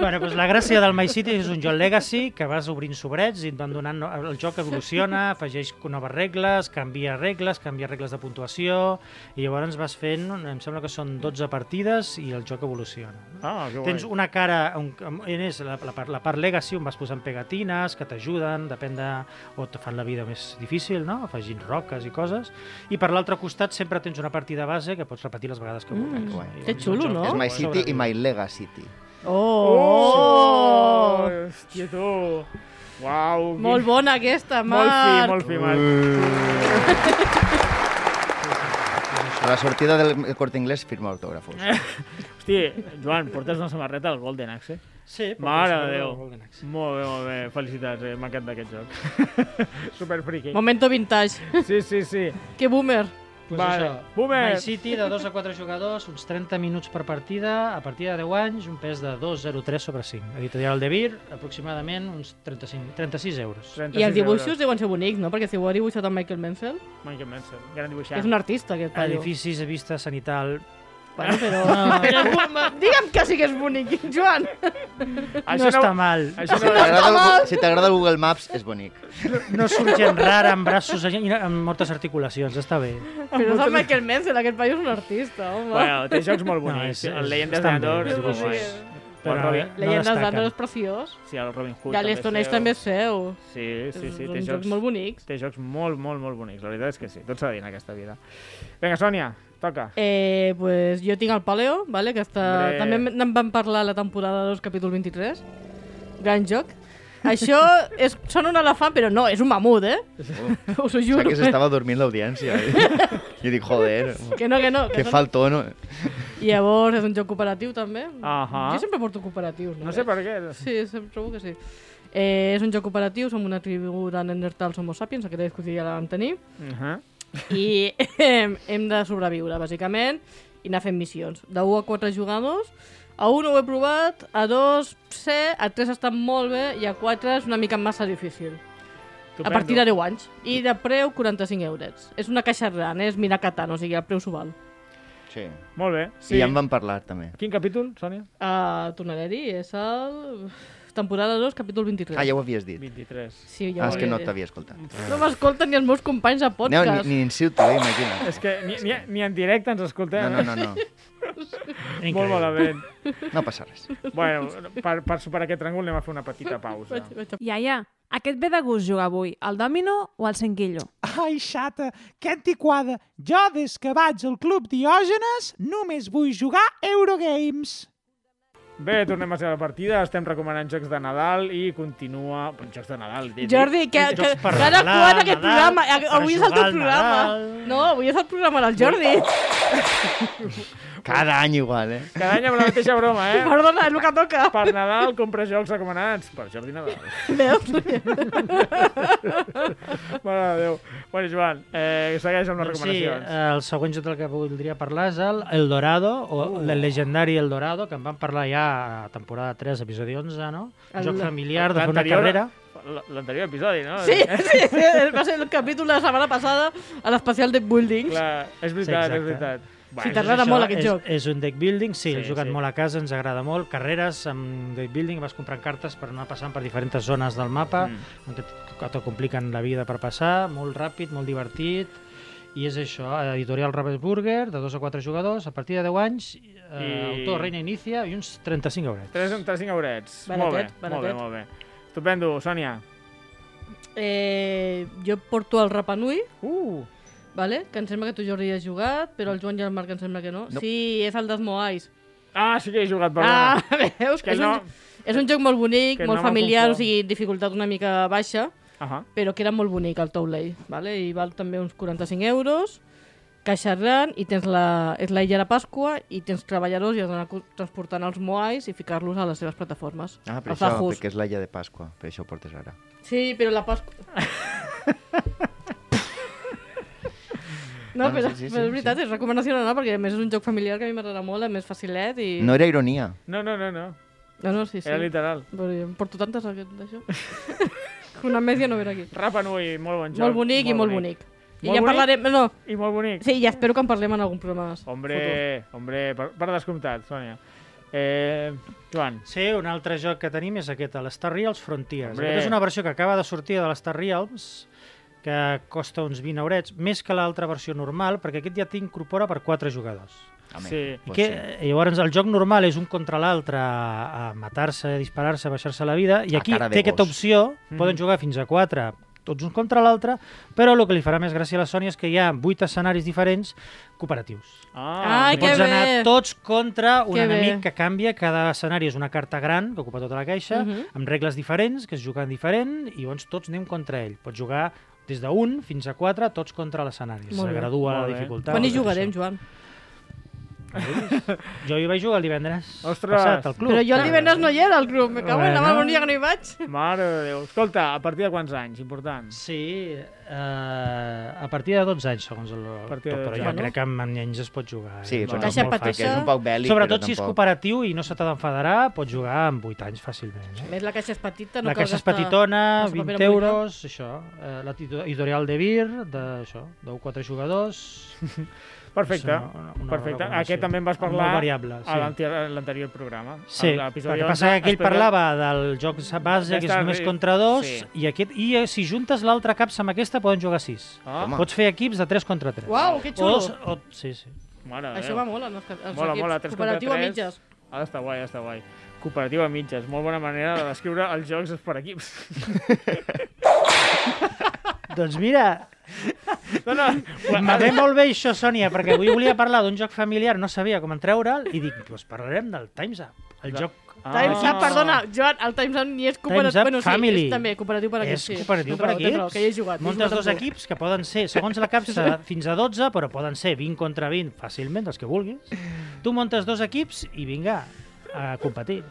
[SPEAKER 5] Bueno, doncs la gràcia del My City és un joc legacy que vas obrint sobrets i et van donant... El joc evoluciona, afegeix noves regles, canvia regles, canvia regles de puntuació i llavors vas fent, em sembla que són 12 partides i el joc evoluciona. no?
[SPEAKER 2] Ah, que guai.
[SPEAKER 5] Tens una cara, un, en és la, la, part, la part legacy on vas posant pegatines que t'ajuden, depèn de... o te fan la vida més difícil, no? afegint roques i coses. I per l'altre costat sempre tens una partida base que pots repetir les vegades que vulguis.
[SPEAKER 4] guai.
[SPEAKER 5] I
[SPEAKER 3] Mm. Que
[SPEAKER 5] és un
[SPEAKER 3] xulo,
[SPEAKER 5] joc
[SPEAKER 3] no?
[SPEAKER 5] que
[SPEAKER 4] És My
[SPEAKER 5] molt
[SPEAKER 4] City i
[SPEAKER 5] sobreviu.
[SPEAKER 4] My Lega City.
[SPEAKER 3] Oh!
[SPEAKER 2] Hòstia, tu! Uau! quin-
[SPEAKER 3] Molt bona aquesta,
[SPEAKER 2] Molt fi,
[SPEAKER 3] Marc.
[SPEAKER 2] molt fi, Marc.
[SPEAKER 4] A la sortida del Corte Inglés firma autògrafos.
[SPEAKER 2] Hosti, Joan, portes una samarreta al Golden Axe?
[SPEAKER 5] Sí, però
[SPEAKER 2] Mare
[SPEAKER 5] és
[SPEAKER 2] de
[SPEAKER 5] el
[SPEAKER 2] Déu.
[SPEAKER 5] Golden Axe.
[SPEAKER 2] Molt bé, molt bé. Felicitats, eh? m'encanta aquest joc. Super friki.
[SPEAKER 3] Momento vintage.
[SPEAKER 2] Sí, sí, sí.
[SPEAKER 3] Que boomer.
[SPEAKER 5] Pues
[SPEAKER 2] Vale.
[SPEAKER 5] això,
[SPEAKER 2] Boomer.
[SPEAKER 5] My City de 2 a 4 jugadors, uns 30 minuts per partida, a partir de 10 anys, un pes de 2,03 sobre 5. Editorial de Vir, aproximadament uns 35, 36 euros.
[SPEAKER 3] I els dibuixos deuen ser bonics, no? Perquè si ho ha dibuixat el Michael Menzel,
[SPEAKER 2] Michael Manson, gran dibuixant.
[SPEAKER 3] és un artista,
[SPEAKER 2] Ah,
[SPEAKER 3] aquest paio.
[SPEAKER 5] Edificis de vista sanital...
[SPEAKER 3] Bueno, però... però digue'm que sí que és bonic, Joan.
[SPEAKER 5] Això
[SPEAKER 2] no-
[SPEAKER 5] no, està mal.
[SPEAKER 2] Això
[SPEAKER 4] Si
[SPEAKER 2] no...
[SPEAKER 4] t'agrada el, Gu- si t'agrada el Google Maps, és bonic.
[SPEAKER 5] No surt gent rara, amb braços i amb moltes articulacions, està bé.
[SPEAKER 3] Però és el Michael Menzel, aquest paio és un artista, home.
[SPEAKER 2] Bueno, té jocs molt
[SPEAKER 5] No,
[SPEAKER 2] bonics.
[SPEAKER 5] és-
[SPEAKER 2] el
[SPEAKER 5] és-
[SPEAKER 2] Leyendas de
[SPEAKER 5] estan bé,
[SPEAKER 2] Andor
[SPEAKER 5] els
[SPEAKER 2] és molt guai.
[SPEAKER 3] dibuixos.
[SPEAKER 2] Però,
[SPEAKER 5] Però,
[SPEAKER 2] Robin,
[SPEAKER 5] eh, no
[SPEAKER 3] Leyendas
[SPEAKER 5] destaquen.
[SPEAKER 3] d'Andor és preciós.
[SPEAKER 2] sí, el Robin Hood.
[SPEAKER 3] I el Stone Age també és seu.
[SPEAKER 2] Sí, sí, sí, té
[SPEAKER 3] Són
[SPEAKER 2] jocs,
[SPEAKER 3] jocs molt bonics.
[SPEAKER 2] té jocs molt, molt, molt bonics. La veritat és que sí, tot s'ha de dir en aquesta vida. Vinga, Sònia, toca.
[SPEAKER 3] Eh, pues jo tinc el Paleo, vale, que està...
[SPEAKER 2] Hombre.
[SPEAKER 3] també en vam parlar a la temporada 2, capítol 23. Gran joc. Això és, són un elefant, però no, és un mamut, eh? Us ho
[SPEAKER 4] O sea,
[SPEAKER 3] juro.
[SPEAKER 4] que se estaba durmiendo la audiencia. eh. Yo dije, joder,
[SPEAKER 3] Que no, que no.
[SPEAKER 4] qué
[SPEAKER 3] Que són...
[SPEAKER 4] faltó, ¿no?
[SPEAKER 3] Llavors, és un joc cooperatiu, també.
[SPEAKER 2] Ahà.
[SPEAKER 3] Jo sempre porto cooperatius.
[SPEAKER 2] No sé per què.
[SPEAKER 3] Sí, sempre trobo que sí. Eh, és un joc cooperatiu, som una tribu de Neandertals Homo sapiens, aquesta discussió ja la vam tenir,
[SPEAKER 2] Uh -huh.
[SPEAKER 3] i hem, hem de sobreviure, bàsicament, i anar fent missions. De 1 a 4 jugadors, a 1 ho he provat, a 2 sé, a 3 ha estat molt bé, i a 4 és una mica massa difícil. A partir de 10 anys. I de preu, 45 eurets. És una caixa gran, eh? és Miracatan, o sigui, el preu s'ho val.
[SPEAKER 4] Sí.
[SPEAKER 2] Molt bé.
[SPEAKER 4] sí. I
[SPEAKER 2] Sí.
[SPEAKER 4] ja en van parlar, també.
[SPEAKER 2] Quin capítol, Sònia?
[SPEAKER 3] Uh, tornaré a dir, és el... Temporada 2, capítol 23.
[SPEAKER 4] Ah, ja ho havies dit.
[SPEAKER 2] 23.
[SPEAKER 3] Sí, ja
[SPEAKER 4] Ah,
[SPEAKER 3] ho
[SPEAKER 4] és que no
[SPEAKER 3] diré.
[SPEAKER 4] t'havia escoltat.
[SPEAKER 3] No m'escolten ni els meus companys de
[SPEAKER 4] No,
[SPEAKER 3] podcast.
[SPEAKER 4] ni, ni en Ciuta, eh, imagina't.
[SPEAKER 2] És que ni, ni, ni en directe ens escoltem.
[SPEAKER 4] No, no, no, no.
[SPEAKER 2] Eh? Molt malament.
[SPEAKER 4] No passa res.
[SPEAKER 2] bueno, per, per superar aquest tràngol anem a fer una petita pausa.
[SPEAKER 3] Vaig, vaig a...
[SPEAKER 6] Iaia, aquest ve de gust jugar avui, al dòmino o al senquillo?
[SPEAKER 7] Ai, xata, que antiquada! Jo, des que vaig al Club Diògenes, només vull jugar Eurogames.
[SPEAKER 2] Bé, tornem a ser a la partida. Estem recomanant jocs de Nadal i continua... Jocs de Nadal. he dit.
[SPEAKER 3] Jordi, que, que
[SPEAKER 5] Jocs per
[SPEAKER 3] cada
[SPEAKER 5] regalar,
[SPEAKER 3] quan aquest
[SPEAKER 5] Nadal,
[SPEAKER 3] programa... a-
[SPEAKER 5] per
[SPEAKER 3] Avui és el
[SPEAKER 5] jugar
[SPEAKER 3] teu
[SPEAKER 5] al
[SPEAKER 3] programa.
[SPEAKER 5] Nadal.
[SPEAKER 3] No, avui és el programa del Jordi.
[SPEAKER 4] Cada any igual, eh?
[SPEAKER 2] Cada any amb la mateixa broma, eh?
[SPEAKER 3] Perdona, és el que toca.
[SPEAKER 2] Per Nadal compra jocs recomanats per Jordi Nadal.
[SPEAKER 3] Veus?
[SPEAKER 2] Mare de Déu. Bueno, Joan, eh, segueix amb les
[SPEAKER 5] Doncs Sí, eh,
[SPEAKER 2] recomanacions.
[SPEAKER 5] el següent joc del que voldria parlar és el El Dorado, o uh. el legendari El Dorado, que en vam parlar ja a temporada 3, episodi 11, no?
[SPEAKER 3] El-
[SPEAKER 5] El... Joc familiar, de fer una
[SPEAKER 2] L'anterior-
[SPEAKER 5] carrera.
[SPEAKER 2] l- L'anterior episodi, no?
[SPEAKER 3] Sí, sí, sí, va ser el capítol de la setmana passada a l'especial de Buildings.
[SPEAKER 2] Clar, és veritat,
[SPEAKER 5] Sí, exacte.
[SPEAKER 2] és veritat. Bueno,
[SPEAKER 3] Sí, t'agrada molt aquest
[SPEAKER 5] és,
[SPEAKER 3] joc.
[SPEAKER 5] És un deck building, sí,
[SPEAKER 2] Sí,
[SPEAKER 5] l'he jugat
[SPEAKER 2] sí.
[SPEAKER 5] molt a casa, ens agrada molt. Carreres amb deck building, vas comprant cartes per anar passant per diferents zones del mapa, mm. on et- que te compliquen la vida per passar, molt ràpid, molt divertit. I és això, eh, editorial Ravensburger, de 2 a 4 jugadors, a partir de 10 anys, eh,
[SPEAKER 2] I-
[SPEAKER 5] autor Reina Inicia i uns 35 eurets.
[SPEAKER 2] 3, 35 eurets. molt bé,
[SPEAKER 3] Baratet,
[SPEAKER 2] molt bé,
[SPEAKER 3] baratet.
[SPEAKER 2] molt bé. Estupendo, Sònia.
[SPEAKER 3] Eh, jo porto el Rapanui,
[SPEAKER 2] Uh,
[SPEAKER 3] vale? que em sembla que tu, Jordi, hi has jugat, però el Joan i el Marc em sembla que no.
[SPEAKER 4] No.
[SPEAKER 3] Sí, és el d'Esmoais.
[SPEAKER 2] ah, sí que he jugat, perdona.
[SPEAKER 3] Ah, veus?
[SPEAKER 2] que
[SPEAKER 3] és,
[SPEAKER 2] no...
[SPEAKER 3] un, és un joc molt bonic,
[SPEAKER 2] Que
[SPEAKER 3] molt
[SPEAKER 2] no me'l
[SPEAKER 3] familiar, o
[SPEAKER 2] confon.
[SPEAKER 3] sigui, dificultat una mica baixa.
[SPEAKER 2] Ahà.
[SPEAKER 3] però que era molt bonic el taulell, vale? i val també uns 45 euros, caixa gran, i tens la, és la illa de Pasqua, i tens treballadors i has d'anar co- transportant els moais i ficar-los a les seves plataformes.
[SPEAKER 4] Ah, per
[SPEAKER 3] els
[SPEAKER 4] això,
[SPEAKER 3] ajus.
[SPEAKER 4] perquè és l'alla de Pasqua, per això ho portes ara.
[SPEAKER 3] Sí, però la Pasqua... No,
[SPEAKER 4] No,
[SPEAKER 3] però,
[SPEAKER 4] sí, sí, sí,
[SPEAKER 3] però és veritat, és recomanació d'anar perquè a més és un joc familiar que a mi m'agrada molt, a més facilet i...
[SPEAKER 4] No era ironia.
[SPEAKER 2] No, no, no, no.
[SPEAKER 3] no, no sí, sí.
[SPEAKER 2] Era literal.
[SPEAKER 3] Però jo em porto tantes aquest d'això. Una més ja no verà aquí.
[SPEAKER 2] Rapa Nui, molt bon joc.
[SPEAKER 3] Molt bonic i molt bonic.
[SPEAKER 2] Molt
[SPEAKER 3] I ja en
[SPEAKER 2] bonic?
[SPEAKER 3] parlarem... No,
[SPEAKER 2] I molt bonic.
[SPEAKER 3] Sí, ja espero que en parlem en algun programa més.
[SPEAKER 2] Hombre, hombre, per, per descomptat, Sònia. Eh, Joan,
[SPEAKER 5] Sí, un altre joc que tenim és aquest, l'Star Realms Frontiers.
[SPEAKER 2] Hombre.
[SPEAKER 5] Hombre. És una versió que acaba de sortir de l'Star Realms, que costa uns 20 eurets, més que l'altra versió normal, perquè aquest ja t'incorpora per 4 jugadors.
[SPEAKER 4] Home,
[SPEAKER 2] Sí.
[SPEAKER 5] I
[SPEAKER 4] pot
[SPEAKER 5] que,
[SPEAKER 4] ser.
[SPEAKER 5] sí. Llavors, el joc normal és un contra l'altre, a a matar-se, a disparar-se, a baixar-se la vida, i
[SPEAKER 4] A
[SPEAKER 5] aquí
[SPEAKER 4] cara de
[SPEAKER 5] té aquesta
[SPEAKER 4] gos. Mm.
[SPEAKER 5] opció, poden jugar fins a 4 tots uns contra l'altre, però el que li farà més gràcia a la Sònia és que hi ha 8 escenaris diferents cooperatius.
[SPEAKER 2] Ah, molt
[SPEAKER 3] Ai, que
[SPEAKER 5] Pots
[SPEAKER 3] bé.
[SPEAKER 5] anar tots contra un
[SPEAKER 3] Que
[SPEAKER 5] que
[SPEAKER 3] bé.
[SPEAKER 5] enemic que canvia. Cada escenari és una carta gran que ocupa tota la caixa, uh
[SPEAKER 3] Mhm.
[SPEAKER 5] -huh. amb regles diferents, que es juguen diferent, i llavors tots anem contra ell. Pots jugar des d'un fins a quatre, tots contra l'escenari.
[SPEAKER 3] Molt
[SPEAKER 5] Se
[SPEAKER 3] bé.
[SPEAKER 5] gradua
[SPEAKER 2] Molt
[SPEAKER 5] la
[SPEAKER 2] bé.
[SPEAKER 5] dificultat.
[SPEAKER 3] Quan hi
[SPEAKER 5] tot
[SPEAKER 3] jugarem,
[SPEAKER 5] això.
[SPEAKER 3] Joan?
[SPEAKER 5] Jo hi vaig jugar el divendres
[SPEAKER 2] Ostres.
[SPEAKER 5] passat al club.
[SPEAKER 3] Però jo el divendres no hi era al club, me cago en la mà,
[SPEAKER 5] Bueno.
[SPEAKER 3] bon dia que no hi vaig.
[SPEAKER 2] Mare de Déu. Escolta, a partir de quants anys? Important.
[SPEAKER 5] Sí, eh, a partir de 12 anys, segons el...
[SPEAKER 2] A partir de
[SPEAKER 5] Però
[SPEAKER 2] 12
[SPEAKER 5] jo
[SPEAKER 2] anys.
[SPEAKER 5] crec que amb nens es pot jugar.
[SPEAKER 4] Sí,
[SPEAKER 5] eh?
[SPEAKER 4] bueno,
[SPEAKER 3] Caixa
[SPEAKER 4] molt
[SPEAKER 3] patassa.
[SPEAKER 4] fàcil, és un poc bèl·lic,
[SPEAKER 5] Sobretot
[SPEAKER 4] però
[SPEAKER 5] si és
[SPEAKER 4] tampoc...
[SPEAKER 5] cooperatiu i no se t'ha d'enfadar, pots jugar amb 8 anys fàcilment. Eh?
[SPEAKER 3] A més, la caixa és petita, no
[SPEAKER 5] la
[SPEAKER 3] cal
[SPEAKER 5] caixa és
[SPEAKER 3] gastar-
[SPEAKER 5] petitona,
[SPEAKER 3] massa paper
[SPEAKER 5] 20
[SPEAKER 3] a mullar.
[SPEAKER 5] euros, això. Eh, la tito- editorial de Vir, de, això, de 4 jugadors.
[SPEAKER 2] Perfecte.
[SPEAKER 5] És una- una
[SPEAKER 2] Perfecte.
[SPEAKER 5] recomanació.
[SPEAKER 2] Aquest també en vas
[SPEAKER 5] Molt
[SPEAKER 2] parlar
[SPEAKER 5] variable, sí.
[SPEAKER 2] a l'anterior- a l'anterior programa.
[SPEAKER 5] Sí,
[SPEAKER 2] A
[SPEAKER 5] el
[SPEAKER 2] l'episodi
[SPEAKER 5] que
[SPEAKER 2] 11,
[SPEAKER 5] passa que aquell
[SPEAKER 2] especial-
[SPEAKER 5] parlava del joc base, que és
[SPEAKER 2] Aquesta-
[SPEAKER 5] només contra dos,
[SPEAKER 2] sí.
[SPEAKER 5] i, aquest, i eh, si juntes l'altre caps amb aquesta poden jugar sis.
[SPEAKER 2] Ah,
[SPEAKER 4] Home.
[SPEAKER 5] Pots fer equips de 3 contra 3.
[SPEAKER 3] Uau, que xulo.
[SPEAKER 5] O, dos- o, sí, sí.
[SPEAKER 2] mare de
[SPEAKER 3] Això
[SPEAKER 2] Déu.
[SPEAKER 3] va molt, en els, els
[SPEAKER 2] Mola,
[SPEAKER 3] equips.
[SPEAKER 2] mola, tres contra
[SPEAKER 3] Cooperatiu a
[SPEAKER 2] tres.
[SPEAKER 3] mitges.
[SPEAKER 2] Ha d'estar guai, ha d'estar guai. Cooperativa a mitges. Molt bona manera de descriure els jocs per equips.
[SPEAKER 5] doncs mira,
[SPEAKER 2] No, no.
[SPEAKER 5] em ve molt bé això, Sònia, perquè avui volia parlar d'un joc familiar, no sabia com en treure'l, i dic, doncs parlarem del Time's Up, el
[SPEAKER 2] De-
[SPEAKER 5] joc
[SPEAKER 3] Times Up, perdona, Joan, el Times Up ni és
[SPEAKER 5] Time's Up
[SPEAKER 3] cooperatiu. Bueno,
[SPEAKER 5] Family.
[SPEAKER 3] sí, és també cooperatiu per equips.
[SPEAKER 5] És
[SPEAKER 3] sí.
[SPEAKER 5] cooperatiu
[SPEAKER 3] Tens
[SPEAKER 5] per
[SPEAKER 3] raó, tens
[SPEAKER 5] equips.
[SPEAKER 3] raó, Que hi he jugat. hi he
[SPEAKER 5] Montes
[SPEAKER 3] jugat
[SPEAKER 5] dos
[SPEAKER 3] amb tu.
[SPEAKER 5] equips que poden ser, segons la capsa, fins a 12, però poden ser 20 contra 20, fàcilment, els que vulguis. Tu montes dos equips i vinga, a competir.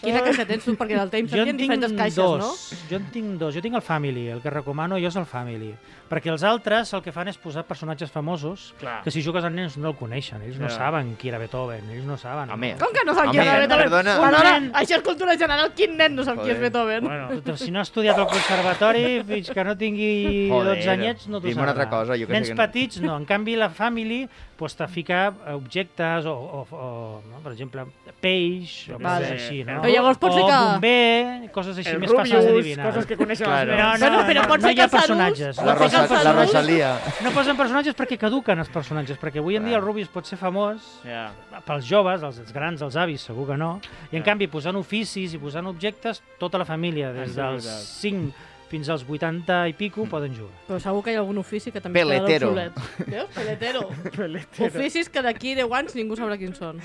[SPEAKER 3] Quina caixa tens tu? Perquè del Times
[SPEAKER 5] Jo
[SPEAKER 3] Up hi
[SPEAKER 5] en
[SPEAKER 3] ha
[SPEAKER 5] tinc
[SPEAKER 3] diferents caixes,
[SPEAKER 5] dos.
[SPEAKER 3] no?
[SPEAKER 5] Jo en tinc dos. Jo tinc el Family. El que recomano jo és el Family. Perquè els altres el que fan és posar personatges famosos
[SPEAKER 2] Clar.
[SPEAKER 4] Ah.
[SPEAKER 5] que si jugues amb nens no el coneixen. Ells no
[SPEAKER 2] Ja.
[SPEAKER 5] saben qui era Beethoven. Ells no saben.
[SPEAKER 4] Home.
[SPEAKER 3] Com que no sap qui és
[SPEAKER 4] Home,
[SPEAKER 3] Beethoven?
[SPEAKER 4] perdona.
[SPEAKER 3] Perdona,
[SPEAKER 5] Un nen.
[SPEAKER 3] això és cultura general. Quin nen no sap qui és
[SPEAKER 4] Joder.
[SPEAKER 3] Beethoven?
[SPEAKER 2] Bueno,
[SPEAKER 5] Tot- Si no ha estudiat al conservatori, fins que no tingui
[SPEAKER 4] Joder,
[SPEAKER 5] 12 anyets, no t'ho
[SPEAKER 4] digui'm una altra cosa, jo que sé
[SPEAKER 5] Nens
[SPEAKER 4] que no-
[SPEAKER 5] petits, no. En canvi, la family pues, te fica objectes o, o, o no? per exemple, peix, o
[SPEAKER 2] Vale.
[SPEAKER 5] coses així, no?
[SPEAKER 2] Però
[SPEAKER 3] llavors pot
[SPEAKER 5] o
[SPEAKER 3] ser que-
[SPEAKER 5] bomber, coses així
[SPEAKER 2] el
[SPEAKER 5] més eh. fàcils
[SPEAKER 2] Rubius,
[SPEAKER 5] d'adivinar.
[SPEAKER 2] coses que coneixen
[SPEAKER 4] Claro.
[SPEAKER 2] els nens.
[SPEAKER 3] No, no, però pot
[SPEAKER 5] no
[SPEAKER 3] ser
[SPEAKER 5] hi ha
[SPEAKER 3] que els adults-
[SPEAKER 5] personatges.
[SPEAKER 4] La,
[SPEAKER 3] No fica
[SPEAKER 4] Rosa,
[SPEAKER 3] els
[SPEAKER 4] la
[SPEAKER 3] adults.
[SPEAKER 4] Rosalia.
[SPEAKER 5] No posen personatges perquè caduquen els personatges, perquè avui en dia el Rubius pot ser famós
[SPEAKER 2] Ja.
[SPEAKER 5] pels joves, els, els grans, els avis, segur que no, i en
[SPEAKER 2] Ja.
[SPEAKER 5] canvi posant oficis i posant objectes, tota la família, des
[SPEAKER 2] És
[SPEAKER 5] dels
[SPEAKER 2] veritat.
[SPEAKER 5] 5 fins als 80 i
[SPEAKER 3] Mm.
[SPEAKER 5] pico, poden jugar.
[SPEAKER 3] Però segur que hi ha algun ofici que també
[SPEAKER 4] Peletero.
[SPEAKER 3] quedarà obsolet. Veus? Peletero.
[SPEAKER 2] Peletero.
[SPEAKER 3] Oficis que d'aquí 10 anys ningú sabrà quins són.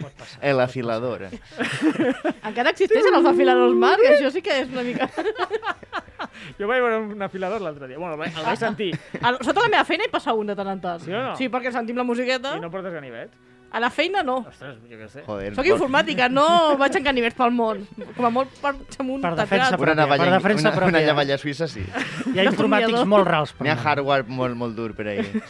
[SPEAKER 5] Pot passar.
[SPEAKER 4] El afilador.
[SPEAKER 3] Encara existeixen els afiladors Marc? Això sí que és una mica...
[SPEAKER 2] Jo vaig veure un afilador l'altre dia. Bueno, el vaig- el vaig sentir.
[SPEAKER 3] Al- Ah, Sota la meva feina hi passa un de tant en tant.
[SPEAKER 2] Sí o no?
[SPEAKER 3] Sí, perquè sentim la musiqueta.
[SPEAKER 2] I no portes ganivet?
[SPEAKER 3] A la feina no.
[SPEAKER 2] Ostres, jo què sé.
[SPEAKER 4] Joder.
[SPEAKER 3] Soc informàtica, no vaig en ganivets pel món. Com a molt per amunt.
[SPEAKER 5] Per
[SPEAKER 3] de
[SPEAKER 5] defensa
[SPEAKER 3] grau.
[SPEAKER 4] Una, navalla,
[SPEAKER 5] Per defensa
[SPEAKER 4] una, una
[SPEAKER 5] pròpia.
[SPEAKER 4] navalla suïssa, sí.
[SPEAKER 5] Hi ha informàtics
[SPEAKER 3] somiador.
[SPEAKER 5] molt rals.
[SPEAKER 4] N'hi ha
[SPEAKER 5] mi.
[SPEAKER 4] hardware molt, molt dur per ahir.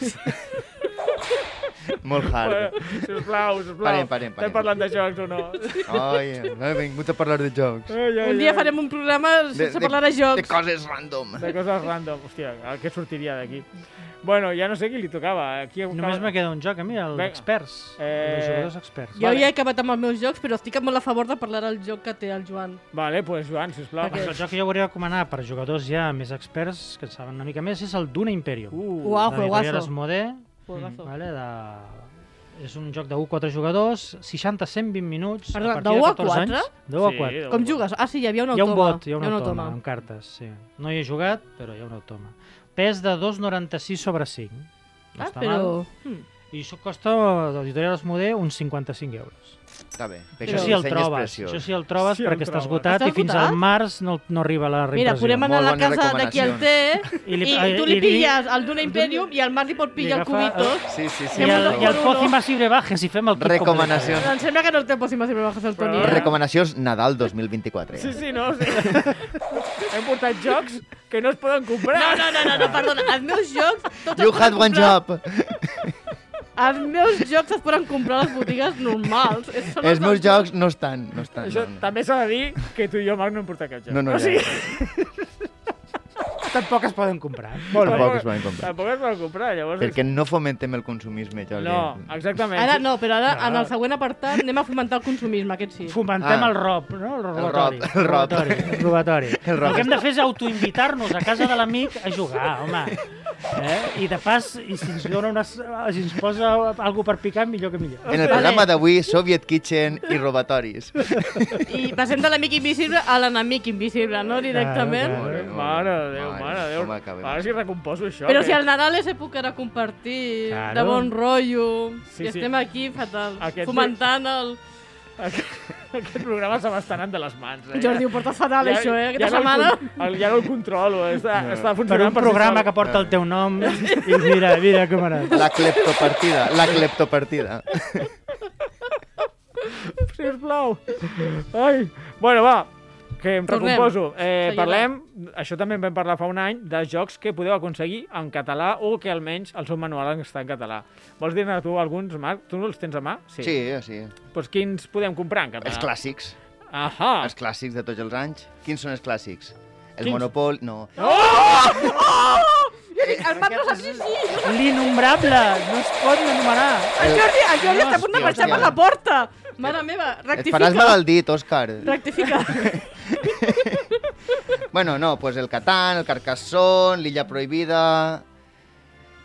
[SPEAKER 4] molt hard.
[SPEAKER 2] Bueno, sisplau, sisplau.
[SPEAKER 4] Parem, parem, parem.
[SPEAKER 2] Estem parlant de jocs o no?
[SPEAKER 4] Ai, no he vingut a parlar de jocs.
[SPEAKER 2] Ai, ai,
[SPEAKER 3] Un dia
[SPEAKER 2] ai.
[SPEAKER 3] farem un programa sense parlar de
[SPEAKER 4] De
[SPEAKER 3] jocs.
[SPEAKER 4] coses random.
[SPEAKER 2] De coses random. Hòstia, el que sortiria d'aquí. Bueno, ja no sé qui li tocava. Qui
[SPEAKER 5] Només me queda un joc a mi, els
[SPEAKER 2] Vinga.
[SPEAKER 5] experts.
[SPEAKER 2] Eh,
[SPEAKER 5] Els jugadors experts.
[SPEAKER 3] Jo
[SPEAKER 2] Vale.
[SPEAKER 3] ja he acabat amb els meus jocs, però estic molt a favor de parlar del joc que té el Joan.
[SPEAKER 2] Vale, pues Joan, sisplau.
[SPEAKER 5] Doncs El joc que jo volia recomanar per jugadors ja més experts, que en saben una mica més, és el Duna Imperium.
[SPEAKER 2] Uh,
[SPEAKER 3] Uau,
[SPEAKER 5] de l'editorial
[SPEAKER 3] juegazo.
[SPEAKER 5] Asmodee,
[SPEAKER 3] Juegazo.
[SPEAKER 5] Vale, de... És un joc de 1-4 jugadors, 60-120 minuts,
[SPEAKER 3] Perdona,
[SPEAKER 5] a partir
[SPEAKER 3] de
[SPEAKER 5] de,
[SPEAKER 3] u a
[SPEAKER 5] 14
[SPEAKER 3] quatre?
[SPEAKER 5] anys. De 1 a
[SPEAKER 2] Sí,
[SPEAKER 5] 4.
[SPEAKER 2] de
[SPEAKER 3] Com jugues? Ah, sí, hi havia un
[SPEAKER 5] hi ha
[SPEAKER 3] automa.
[SPEAKER 5] un bot, hi ha un automa, amb cartes, sí. No hi he jugat, però hi ha un automa. Pes de 2,96 sobre 5. No
[SPEAKER 3] Ah,
[SPEAKER 5] està
[SPEAKER 3] però... Hm.
[SPEAKER 5] mal. I això costa, d'Editorial Esmodé, uns 55 euros.
[SPEAKER 4] Està bé.
[SPEAKER 5] Això
[SPEAKER 4] Però...
[SPEAKER 5] sí el trobes, això sí el trobes
[SPEAKER 2] Sí, el
[SPEAKER 5] perquè està
[SPEAKER 2] trobes.
[SPEAKER 5] esgotat
[SPEAKER 3] Està
[SPEAKER 5] i fins
[SPEAKER 3] esgotat?
[SPEAKER 5] al març no, no arriba la
[SPEAKER 3] Mira,
[SPEAKER 5] reimpressió.
[SPEAKER 3] podem anar a la
[SPEAKER 4] Molt bones
[SPEAKER 3] casa de qui el té
[SPEAKER 5] I
[SPEAKER 3] i,
[SPEAKER 5] li-
[SPEAKER 3] tu li
[SPEAKER 5] i li-
[SPEAKER 3] pilles el d'una Imperium i el Marc li pot pillar el
[SPEAKER 5] agafa el-
[SPEAKER 3] Cubitos.
[SPEAKER 4] Sí, sí, sí.
[SPEAKER 5] I el, i el
[SPEAKER 3] Número
[SPEAKER 5] Pozi
[SPEAKER 3] uno.
[SPEAKER 5] Mas i Brebajes, si fem el kit
[SPEAKER 4] Recomanacions.
[SPEAKER 3] Em sembla que no té possible sempre bajas el Toni.
[SPEAKER 2] Però-
[SPEAKER 3] eh?
[SPEAKER 4] Recomanacions Nadal 2024.
[SPEAKER 2] Sí, sí, no, sí. Hem portat jocs que no es poden comprar.
[SPEAKER 3] No, no, no, no, no, perdona. Els meus jocs... Tots
[SPEAKER 4] You
[SPEAKER 3] els
[SPEAKER 4] had
[SPEAKER 3] poden
[SPEAKER 4] one
[SPEAKER 3] comprar-
[SPEAKER 4] job.
[SPEAKER 3] Els meus jocs es poden comprar a les botigues normals. És- són
[SPEAKER 4] Els meus
[SPEAKER 3] dels-
[SPEAKER 4] jocs no estan. No estan.
[SPEAKER 2] Això
[SPEAKER 4] no,
[SPEAKER 2] també s'ha de dir que tu i jo, Marc, no hem portat cap joc.
[SPEAKER 4] No, no,
[SPEAKER 2] o
[SPEAKER 5] Ah,
[SPEAKER 2] sigui,
[SPEAKER 5] complet. Tampoc es poden comprar.
[SPEAKER 4] Molt
[SPEAKER 2] tampoc-
[SPEAKER 4] poc es van comprar.
[SPEAKER 2] Tampoc es van comprar, llavors...
[SPEAKER 4] Perquè no fomentem el consumisme, Jordi.
[SPEAKER 2] No, exactament.
[SPEAKER 3] Ara no, però ara en el següent apartat anem a fomentar el consumisme, aquest sí.
[SPEAKER 5] Fomentem
[SPEAKER 4] Ah.
[SPEAKER 5] el rob, no? El
[SPEAKER 4] rob,
[SPEAKER 5] robatori.
[SPEAKER 4] el rob.
[SPEAKER 5] Robatori. robatori.
[SPEAKER 4] El
[SPEAKER 5] El,
[SPEAKER 4] rob.
[SPEAKER 5] que hem de fer és autoinvitar-nos a casa de l'amic a jugar, home. Eh? I de pas, i si ens, dona una, si ens posa alguna per picar, millor que millor.
[SPEAKER 4] En el programa d'avui, Soviet Kitchen i robatoris.
[SPEAKER 3] I passem de l'amic invisible a l'enemic invisible, no? Directament.
[SPEAKER 4] Claro,
[SPEAKER 2] Mare de Déu,
[SPEAKER 4] Mare,
[SPEAKER 2] mare de Déu.
[SPEAKER 4] com acabem.
[SPEAKER 2] Ara si recomposo això.
[SPEAKER 3] Però
[SPEAKER 2] que-
[SPEAKER 3] si el Nadal és època de compartir,
[SPEAKER 5] Claro.
[SPEAKER 3] de bon rotllo,
[SPEAKER 2] Sí,
[SPEAKER 3] i
[SPEAKER 2] sí.
[SPEAKER 3] estem aquí fatal,
[SPEAKER 2] Aquest-
[SPEAKER 3] fomentant el...
[SPEAKER 2] Aquest programa se m'està anant de les mans, eh?
[SPEAKER 3] Jordi, ho portes fatal, això, eh? Aquesta
[SPEAKER 2] ja no
[SPEAKER 3] setmana...
[SPEAKER 2] El, con- el, ja no el controlo, eh? està, no. està
[SPEAKER 5] Per
[SPEAKER 2] funcionant
[SPEAKER 5] un programa que porta
[SPEAKER 4] Ah.
[SPEAKER 5] el teu nom i mira, mira com ha anat.
[SPEAKER 4] La cleptopartida, la cleptopartida.
[SPEAKER 2] Que... Sisplau. Ai. Bueno, va, que em
[SPEAKER 3] Tornem.
[SPEAKER 2] recomposo. Eh,
[SPEAKER 3] Seguim.
[SPEAKER 2] parlem, això també en vam parlar fa un any, de jocs que podeu aconseguir en català o que almenys el seu manual està en català. Vols dir-ne tu alguns, Marc? Tu no els tens a mà?
[SPEAKER 4] Sí, Ah. sí.
[SPEAKER 2] Doncs quins podem comprar en català?
[SPEAKER 4] Els clàssics.
[SPEAKER 2] Ahà.
[SPEAKER 4] Els clàssics de tots els anys. Quins són els clàssics? El
[SPEAKER 2] Quins?
[SPEAKER 4] Monopol, no.
[SPEAKER 3] Oh! El Marc no sí, sí.
[SPEAKER 5] L'innombrable, no es pot anomenar.
[SPEAKER 3] El Jordi, el Jordi està a punt de
[SPEAKER 4] Hòstia,
[SPEAKER 3] marxar per
[SPEAKER 4] hòstia.
[SPEAKER 3] la porta. Mare meva,
[SPEAKER 4] Et faràs
[SPEAKER 3] rectifica.
[SPEAKER 4] mal al dit, Òscar.
[SPEAKER 3] Rectifica.
[SPEAKER 4] Bueno, no, pues el Catan, el Carcassonne, l'Illa Prohibida...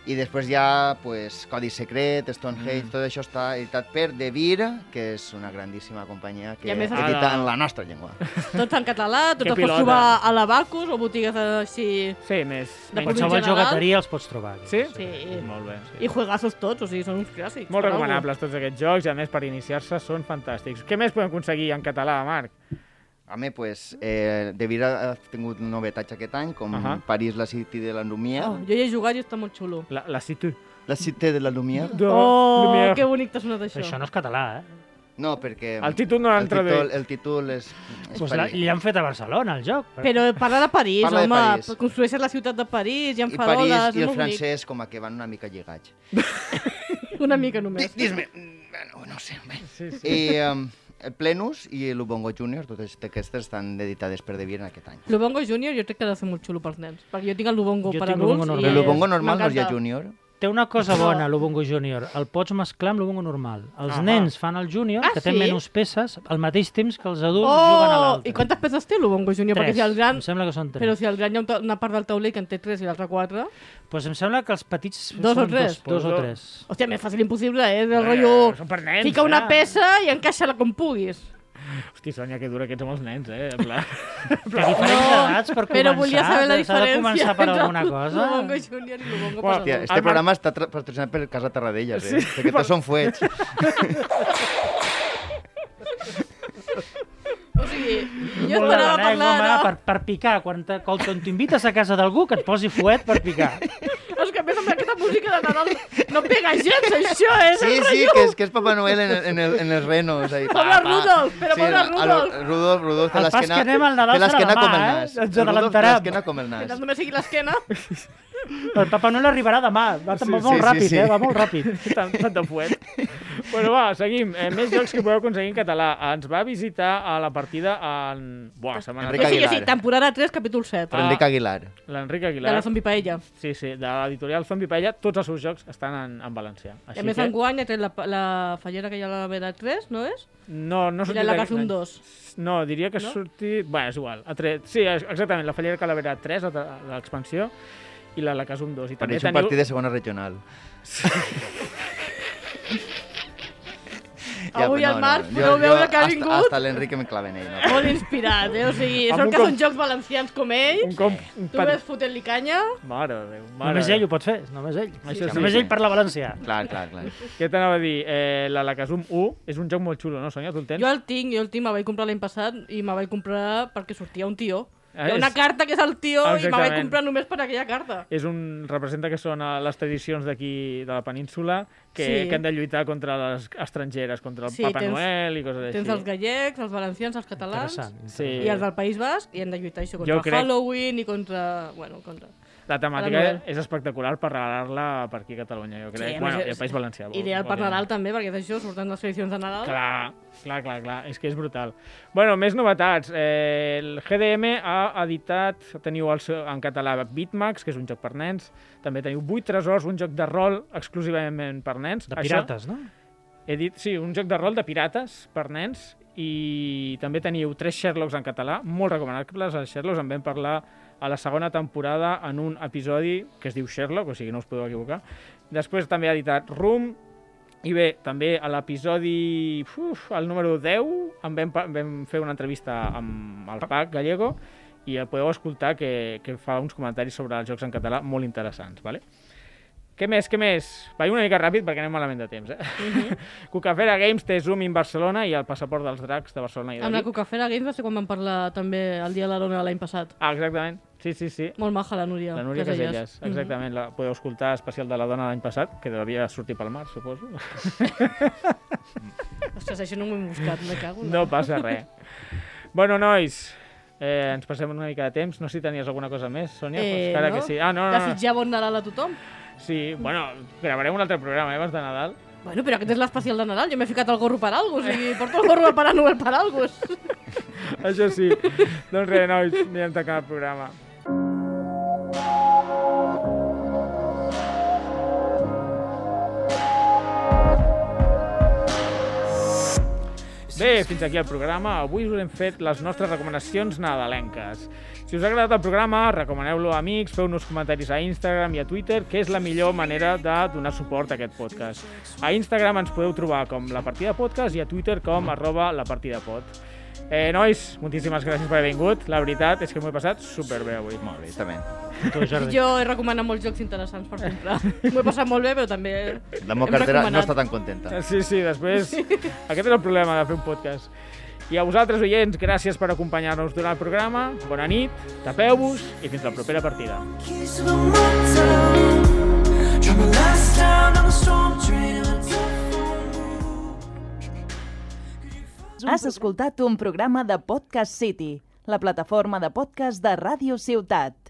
[SPEAKER 4] I després hi ha pues, Codi Secret, Stonehenge,
[SPEAKER 2] Mm.
[SPEAKER 4] mm. tot això està editat per De Vir, que és una grandíssima companyia que
[SPEAKER 3] I a més-
[SPEAKER 4] edita
[SPEAKER 2] Ah,
[SPEAKER 4] en la nostra llengua.
[SPEAKER 3] Tot en català, tot
[SPEAKER 2] Que
[SPEAKER 3] el pots
[SPEAKER 2] pilota.
[SPEAKER 3] trobar a la Bacus o botigues així...
[SPEAKER 2] Sí, més.
[SPEAKER 3] De
[SPEAKER 2] menys-
[SPEAKER 5] Qualsevol
[SPEAKER 3] general-
[SPEAKER 5] jogateria els pots trobar. aquí.
[SPEAKER 2] Sí?
[SPEAKER 3] Sí.
[SPEAKER 2] Molt bé. Sí.
[SPEAKER 3] I juegassos tots, o sigui, són uns clàssics.
[SPEAKER 2] Molt
[SPEAKER 3] per algú.
[SPEAKER 2] recomanables tots aquests jocs i, a més, per iniciar-se són fantàstics. Què més podem aconseguir en català, Marc?
[SPEAKER 4] Home, pues, eh, De Vir ha tingut novetats aquest any, com
[SPEAKER 2] Ahà.
[SPEAKER 4] París, la City de la Lumière.
[SPEAKER 3] Oh, jo hi he jugat i està molt xulo.
[SPEAKER 2] La, la situ...
[SPEAKER 4] La City de la Lumière?
[SPEAKER 2] De...
[SPEAKER 3] Oh,
[SPEAKER 2] Lumière.
[SPEAKER 3] que bonic t'ha sonat això.
[SPEAKER 5] Això no és català, eh?
[SPEAKER 4] No, perquè...
[SPEAKER 2] El títol no
[SPEAKER 4] el
[SPEAKER 2] l'han
[SPEAKER 4] títol,
[SPEAKER 2] traduït.
[SPEAKER 4] el títol és... és
[SPEAKER 5] Pues la,
[SPEAKER 4] París.
[SPEAKER 5] li han fet a Barcelona, el joc.
[SPEAKER 3] Però eh, parla de París,
[SPEAKER 4] Parla de
[SPEAKER 3] home.
[SPEAKER 4] París.
[SPEAKER 3] Construeixes la ciutat de París, hi ha
[SPEAKER 4] I
[SPEAKER 3] faroles...
[SPEAKER 4] París i
[SPEAKER 3] és
[SPEAKER 4] el
[SPEAKER 3] molt bonic.
[SPEAKER 4] francès com a que van una mica lligats.
[SPEAKER 3] Una mica només.
[SPEAKER 4] Dis-me... Bueno, no ho sé, home.
[SPEAKER 2] Sí, sí.
[SPEAKER 4] I um, el Plenus i l'Ubongo Junior, totes aquestes estan editades per De Vir en aquest any.
[SPEAKER 3] L'Ubongo Junior jo crec que ha de ser molt xulo pels nens, perquè jo tinc el Lubongo
[SPEAKER 5] Jo
[SPEAKER 3] per
[SPEAKER 5] tinc l'Ubongo
[SPEAKER 3] adults.
[SPEAKER 5] normal.
[SPEAKER 3] i
[SPEAKER 4] Però l'Ubongo
[SPEAKER 3] és-
[SPEAKER 4] normal no hi ha
[SPEAKER 3] m'encanta.
[SPEAKER 4] Junior.
[SPEAKER 5] Té una cosa
[SPEAKER 3] No.
[SPEAKER 5] bona, l'Ubongo Junior. El pots mesclar amb l'Ubongo normal. Els
[SPEAKER 2] Ahà.
[SPEAKER 5] nens fan el Junior,
[SPEAKER 3] Ah,
[SPEAKER 5] que té
[SPEAKER 3] sí?
[SPEAKER 5] menys peces, al mateix temps que els adults juguen a
[SPEAKER 3] Oh,
[SPEAKER 5] l'altre.
[SPEAKER 3] i quantes peces té l'Ubongo Junior?
[SPEAKER 5] Tres.
[SPEAKER 3] Perquè si el gran...
[SPEAKER 5] Em sembla que són tres.
[SPEAKER 3] Però si el gran hi ha un ta- una part del tauler que en té 3 i l'altra 4...
[SPEAKER 5] Pues em sembla que els petits
[SPEAKER 3] Dos
[SPEAKER 5] són
[SPEAKER 3] o tres?
[SPEAKER 5] Dos, dos o
[SPEAKER 2] Pues
[SPEAKER 5] tres.
[SPEAKER 3] Hòstia, més fàcil impossible, eh? Del rotllo...
[SPEAKER 2] Són per nens.
[SPEAKER 3] Fica una
[SPEAKER 2] ja.
[SPEAKER 3] peça i encaixa-la com puguis.
[SPEAKER 2] Hosti, Sònia, que dura que ets amb els nens, eh? En pla-
[SPEAKER 5] Però diferents
[SPEAKER 3] No,
[SPEAKER 5] edats per començar.
[SPEAKER 3] Però volia saber la
[SPEAKER 5] S'ha de
[SPEAKER 3] diferència
[SPEAKER 5] començar per
[SPEAKER 3] entre
[SPEAKER 5] alguna cosa.
[SPEAKER 3] L'Ubongo Junior i l'Ubongo per
[SPEAKER 2] Hòstia,
[SPEAKER 4] Hòstia,
[SPEAKER 3] adults.
[SPEAKER 4] este
[SPEAKER 2] El Mar-
[SPEAKER 4] programa està tra- patrocinat per Casa Tarradellas, eh? Sí, perquè tots són fuets.
[SPEAKER 3] O sigui, jo
[SPEAKER 5] Molt
[SPEAKER 3] esperava
[SPEAKER 5] bona, eh?
[SPEAKER 3] parlar...
[SPEAKER 5] Molt bona
[SPEAKER 3] ara-
[SPEAKER 5] per, per picar. Quan, te, quan t'invites a casa d'algú, que et posi fuet per picar.
[SPEAKER 3] És que a més amb aquesta música de Nadal no pega gens, això, eh? és
[SPEAKER 4] Sí,
[SPEAKER 3] el
[SPEAKER 4] sí,
[SPEAKER 3] rotllo.
[SPEAKER 4] que és, que és Papà Noel en, el- en, el, en els renos. Ahí,
[SPEAKER 3] Pobre Rudolf, però pobre
[SPEAKER 4] a lo-
[SPEAKER 3] Rudolf.
[SPEAKER 4] Rudolf, Rudolf, té
[SPEAKER 5] El pas
[SPEAKER 4] l'esquena...
[SPEAKER 5] que anem al Nadal
[SPEAKER 4] té l'esquena
[SPEAKER 5] serà demà,
[SPEAKER 4] com el
[SPEAKER 5] eh?
[SPEAKER 4] nas.
[SPEAKER 5] Ens
[SPEAKER 4] Rudolf té
[SPEAKER 5] adelantarem.
[SPEAKER 4] l'esquena com el
[SPEAKER 3] Que tant
[SPEAKER 4] nas.
[SPEAKER 3] només sigui l'esquena.
[SPEAKER 5] El Papa Noel arribarà demà. Va,
[SPEAKER 4] Sí,
[SPEAKER 5] va
[SPEAKER 4] sí,
[SPEAKER 5] molt
[SPEAKER 4] sí,
[SPEAKER 5] ràpid,
[SPEAKER 4] sí.
[SPEAKER 5] eh? Va molt ràpid.
[SPEAKER 2] tant, tant de fuet. bueno, va, seguim. Eh, més jocs que podeu aconseguir en català. Ens va visitar a la partida en... Buah, setmana...
[SPEAKER 4] Enric
[SPEAKER 3] O sigui,
[SPEAKER 4] Aguilar.
[SPEAKER 3] sí, temporada 3, capítol 7.
[SPEAKER 4] Però Enric Aguilar.
[SPEAKER 3] Ah,
[SPEAKER 2] L'Enric
[SPEAKER 3] De la
[SPEAKER 5] eh?
[SPEAKER 2] Aguilar.
[SPEAKER 3] zombi paella.
[SPEAKER 2] Sí, sí, de l'editorial Zombie Paella, tots els seus jocs estan en, en valencià.
[SPEAKER 3] I a més
[SPEAKER 2] que-
[SPEAKER 3] enguany ha tret la, la fallera que hi ha a la Vera 3, no és?
[SPEAKER 2] No, no
[SPEAKER 3] I la
[SPEAKER 2] d'aquest
[SPEAKER 3] Lagasse un
[SPEAKER 2] any.
[SPEAKER 3] 2.
[SPEAKER 2] No, diria que ha
[SPEAKER 3] No?
[SPEAKER 2] sortit... Bé, és igual. Ha tret... Sí, és- exactament, la Fallera Calavera 3, la- l'expansió, i la Lacasum 2. I també
[SPEAKER 4] Pareix un
[SPEAKER 2] teniu...
[SPEAKER 4] partit de segona regional.
[SPEAKER 3] Avui
[SPEAKER 4] però
[SPEAKER 3] Ah, al Marc podeu veure que ha
[SPEAKER 4] hasta-
[SPEAKER 3] vingut.
[SPEAKER 4] Hasta l'Enric me clava en ell. No?
[SPEAKER 3] Molt inspirat, eh? O sigui,
[SPEAKER 2] Amb
[SPEAKER 3] són
[SPEAKER 2] un
[SPEAKER 3] que
[SPEAKER 2] com-
[SPEAKER 3] són jocs valencians com
[SPEAKER 2] Un
[SPEAKER 3] ells.
[SPEAKER 2] com... Un
[SPEAKER 3] Tu ves fotent-li canya.
[SPEAKER 2] Mare de Déu, mare
[SPEAKER 5] Només
[SPEAKER 2] de
[SPEAKER 5] ell
[SPEAKER 2] Déu.
[SPEAKER 5] ho pot fer, només ell.
[SPEAKER 2] Això sí.
[SPEAKER 5] Només ell parla valencià.
[SPEAKER 4] Clar, clar, clar.
[SPEAKER 2] Què t'anava a dir? Eh, la Lacasum 1 és un joc molt xulo, no, Sonia? Tu el tens?
[SPEAKER 3] Jo el tinc, jo el tinc, me vaig comprar l'any passat i me vaig comprar perquè sortia un tio.
[SPEAKER 2] Ah,
[SPEAKER 3] Hi ha una
[SPEAKER 2] és-
[SPEAKER 3] carta que és el tio i me vaig
[SPEAKER 2] Exactament.
[SPEAKER 3] comprar només per aquella carta.
[SPEAKER 2] És un... Representa que són eh, les tradicions d'aquí, de la península, que,
[SPEAKER 3] Sí.
[SPEAKER 2] que han de lluitar contra les estrangeres, contra el
[SPEAKER 3] Sí,
[SPEAKER 2] Papa
[SPEAKER 3] tens-
[SPEAKER 2] Noel i coses així.
[SPEAKER 3] Tens els gallecs, els valencians, els catalans
[SPEAKER 5] Interessant.
[SPEAKER 2] Sí.
[SPEAKER 3] i els del País Basc i han de lluitar això contra
[SPEAKER 2] Jo crec-
[SPEAKER 3] Halloween i contra... Bueno, contra...
[SPEAKER 2] La temàtica
[SPEAKER 3] Pare Noel.
[SPEAKER 2] és espectacular per regalar-la per aquí a Catalunya, jo crec.
[SPEAKER 3] a
[SPEAKER 2] Sí,
[SPEAKER 3] més
[SPEAKER 2] bueno, i
[SPEAKER 3] és
[SPEAKER 2] al País Valencià. vol-
[SPEAKER 3] Ideal per
[SPEAKER 2] òbviament.
[SPEAKER 3] Nadal també, perquè d'això surten les tradicions de Nadal.
[SPEAKER 2] Clar, clar, clar, clar, és que és brutal. Bueno, més novetats. Eh, el GDM ha editat, teniu el seu, en català Bitmax, que és un joc per nens, també teniu 8 tresors, un joc de rol exclusivament per nens.
[SPEAKER 5] De pirates, no?
[SPEAKER 2] Això, he dit, sí, un joc de rol de pirates per nens i també teniu tres Sherlocks en català, molt recomanables. Els Sherlocks en vam parlar a la segona temporada en un episodi que es diu Sherlock, o sigui, no us podeu equivocar. Després també ha editat Room, i bé, també a l'episodi, uf, el número 10, en vam, pa- vam fer una entrevista amb el Pac Gallego i el podeu escoltar que, que fa uns comentaris sobre els jocs en català molt interessants, vale? Què més, què més? Vaig una mica ràpid perquè anem malament de temps, eh? Mm
[SPEAKER 3] Mhm.
[SPEAKER 2] -hmm. Cucafera Games té Zoom in Barcelona i el passaport dels dracs de Barcelona i de
[SPEAKER 3] Amb la
[SPEAKER 2] Vic.
[SPEAKER 3] Cucafera Games va ser quan vam parlar també el dia de l'Arona l'any passat.
[SPEAKER 2] Ah, exactament. Sí, sí, sí.
[SPEAKER 3] Molt maja la Núria.
[SPEAKER 2] La Núria Casellas,
[SPEAKER 3] Mhm.
[SPEAKER 2] exactament. La podeu escoltar especial de la dona l'any passat, que devia sortir pel mar, suposo.
[SPEAKER 3] Mhm. Ostres, això no m'ho he buscat, me cago. en la-
[SPEAKER 2] No passa res. bueno, nois, eh, ens passem una mica de temps. No sé si tenies alguna cosa més, Sònia.
[SPEAKER 3] Eh,
[SPEAKER 2] pues, cara
[SPEAKER 3] no?
[SPEAKER 2] que sí. Ah, no, no, no.
[SPEAKER 3] Desitjar bon Nadal a tothom.
[SPEAKER 2] Sí, bueno, gravarem un altre programa, eh, abans de Nadal.
[SPEAKER 3] Bueno, però aquest és l'especial de Nadal. Jo m'he ficat el gorro per algo, o sigui, porto el gorro de Pare Noel per algo.
[SPEAKER 2] Això sí. doncs res, nois, anirem tancant el programa. Bé, fins aquí el programa. Avui us hem fet les nostres recomanacions nadalenques. Si us ha agradat el programa, recomaneu-lo a amics, feu-nos comentaris a Instagram i a Twitter, que és la millor manera de donar suport a aquest podcast. A Instagram ens podeu trobar com La Partida Podcast i a Twitter com arroba La Partida Pod. Eh, nois, moltíssimes gràcies per haver vingut. La veritat és que m'ho he passat superbé avui.
[SPEAKER 4] Molt bé, també.
[SPEAKER 5] Tu, Jordi.
[SPEAKER 3] Jo he recomanat molts jocs interessants per comprar. M'ho he passat molt bé, però també...
[SPEAKER 4] La meva
[SPEAKER 3] Hem
[SPEAKER 4] cartera no
[SPEAKER 3] recomanat.
[SPEAKER 4] està tan contenta.
[SPEAKER 2] Eh, Sí, sí, després... Aquest és el problema de fer un podcast. I a vosaltres, oients, gràcies per acompanyar-nos durant el programa. Bona nit, tapeu-vos i fins la propera partida.
[SPEAKER 1] Kiss of the mountain. Try my last time on a storm train on a
[SPEAKER 8] Has escoltat un programa de Podcast City, la plataforma de podcast de Ràdio Ciutat.